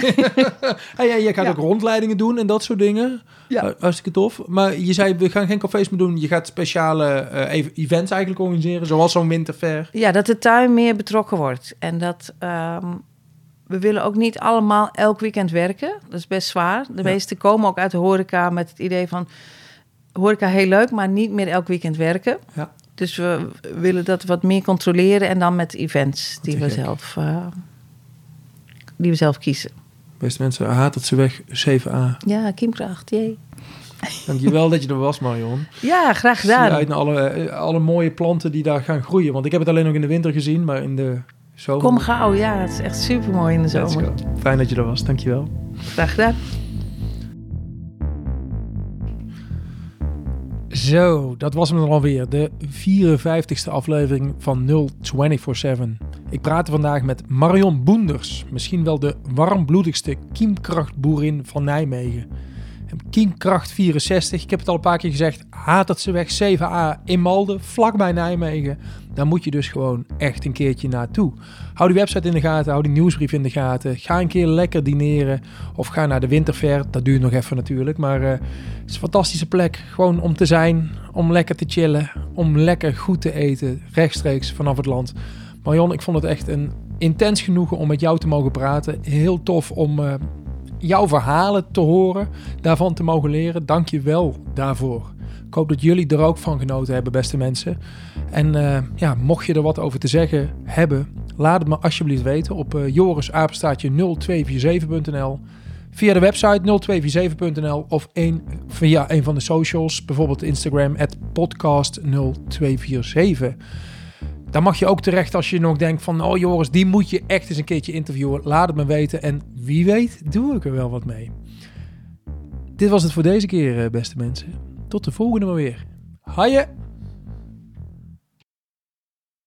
Speaker 2: ja, jij gaat
Speaker 1: Ja.
Speaker 2: ook rondleidingen doen en dat soort dingen.
Speaker 1: Ja.
Speaker 2: Ja. Hartstikke tof. Maar je zei, we gaan geen cafés meer doen. Je gaat speciale eh, even- events eigenlijk organiseren, zoals zo'n winterfair.
Speaker 1: Ja, dat de tuin meer betrokken wordt. En dat ehm, we willen ook niet allemaal elk weekend werken. Dat is best zwaar. De
Speaker 2: Ja.
Speaker 1: meesten komen ook uit de horeca met het idee van... horeca heel leuk, maar niet meer elk weekend werken.
Speaker 2: Ja.
Speaker 1: Dus we willen dat wat meer controleren. En dan met events die
Speaker 2: te
Speaker 1: we,
Speaker 2: gek.
Speaker 1: zelf, eh, die we zelf kiezen.
Speaker 2: Beste mensen, haat dat ze weg, 7a.
Speaker 1: Ja, kiemkracht, jee.
Speaker 2: Dankjewel dat je er was, Marion.
Speaker 1: Ja, graag
Speaker 2: Ik zie
Speaker 1: gedaan.
Speaker 2: uit naar alle, eh, alle mooie planten die daar gaan groeien. Want ik heb het alleen nog in de winter gezien, maar in de zomer...
Speaker 1: Kom gauw, ja. Het is echt super mooi in de
Speaker 2: Let's
Speaker 1: zomer.
Speaker 2: go. Fijn dat je er was, dankjewel.
Speaker 1: Graag gedaan.
Speaker 2: Zo, dat was hem dan alweer. De 54ste aflevering van 0247. Ik praatte vandaag met Marion Boenders. Misschien wel de warmbloedigste kiemkrachtboerin van Nijmegen. En Kiemkracht 64, ik heb het al een paar keer gezegd. Hatertseweg 7a in Malden, vlakbij Nijmegen. Daar moet je dus gewoon echt een keertje naartoe. Hou die website in de gaten, hou die nieuwsbrief in de gaten. Ga een keer lekker dineren of ga naar de winterfair. Dat duurt nog even natuurlijk, maar eh, het is een fantastische plek. Gewoon om te zijn, om lekker te chillen, om lekker goed te eten, rechtstreeks vanaf het land. Marion, ik vond het echt een intens genoegen om met jou te mogen praten. Heel tof om eh, jouw verhalen te horen, daarvan te mogen leren. Dank je wel daarvoor. Ik hoop dat jullie er ook van genoten hebben, beste mensen. En eh, ja, mocht je er wat over te zeggen hebben, laat het me alsjeblieft weten op eh jorisapenstaatje 0247.nl. Via de website 0247.nl of een, via een van de socials, bijvoorbeeld Instagram, podcast0247. Daar mag je ook terecht als je nog denkt van... oh Joris, die moet je echt eens een keertje interviewen. Laat het me weten en wie weet doe ik er wel wat mee. Dit was het voor deze keer, eh, beste mensen. Tot de volgende maar weer. Haaien!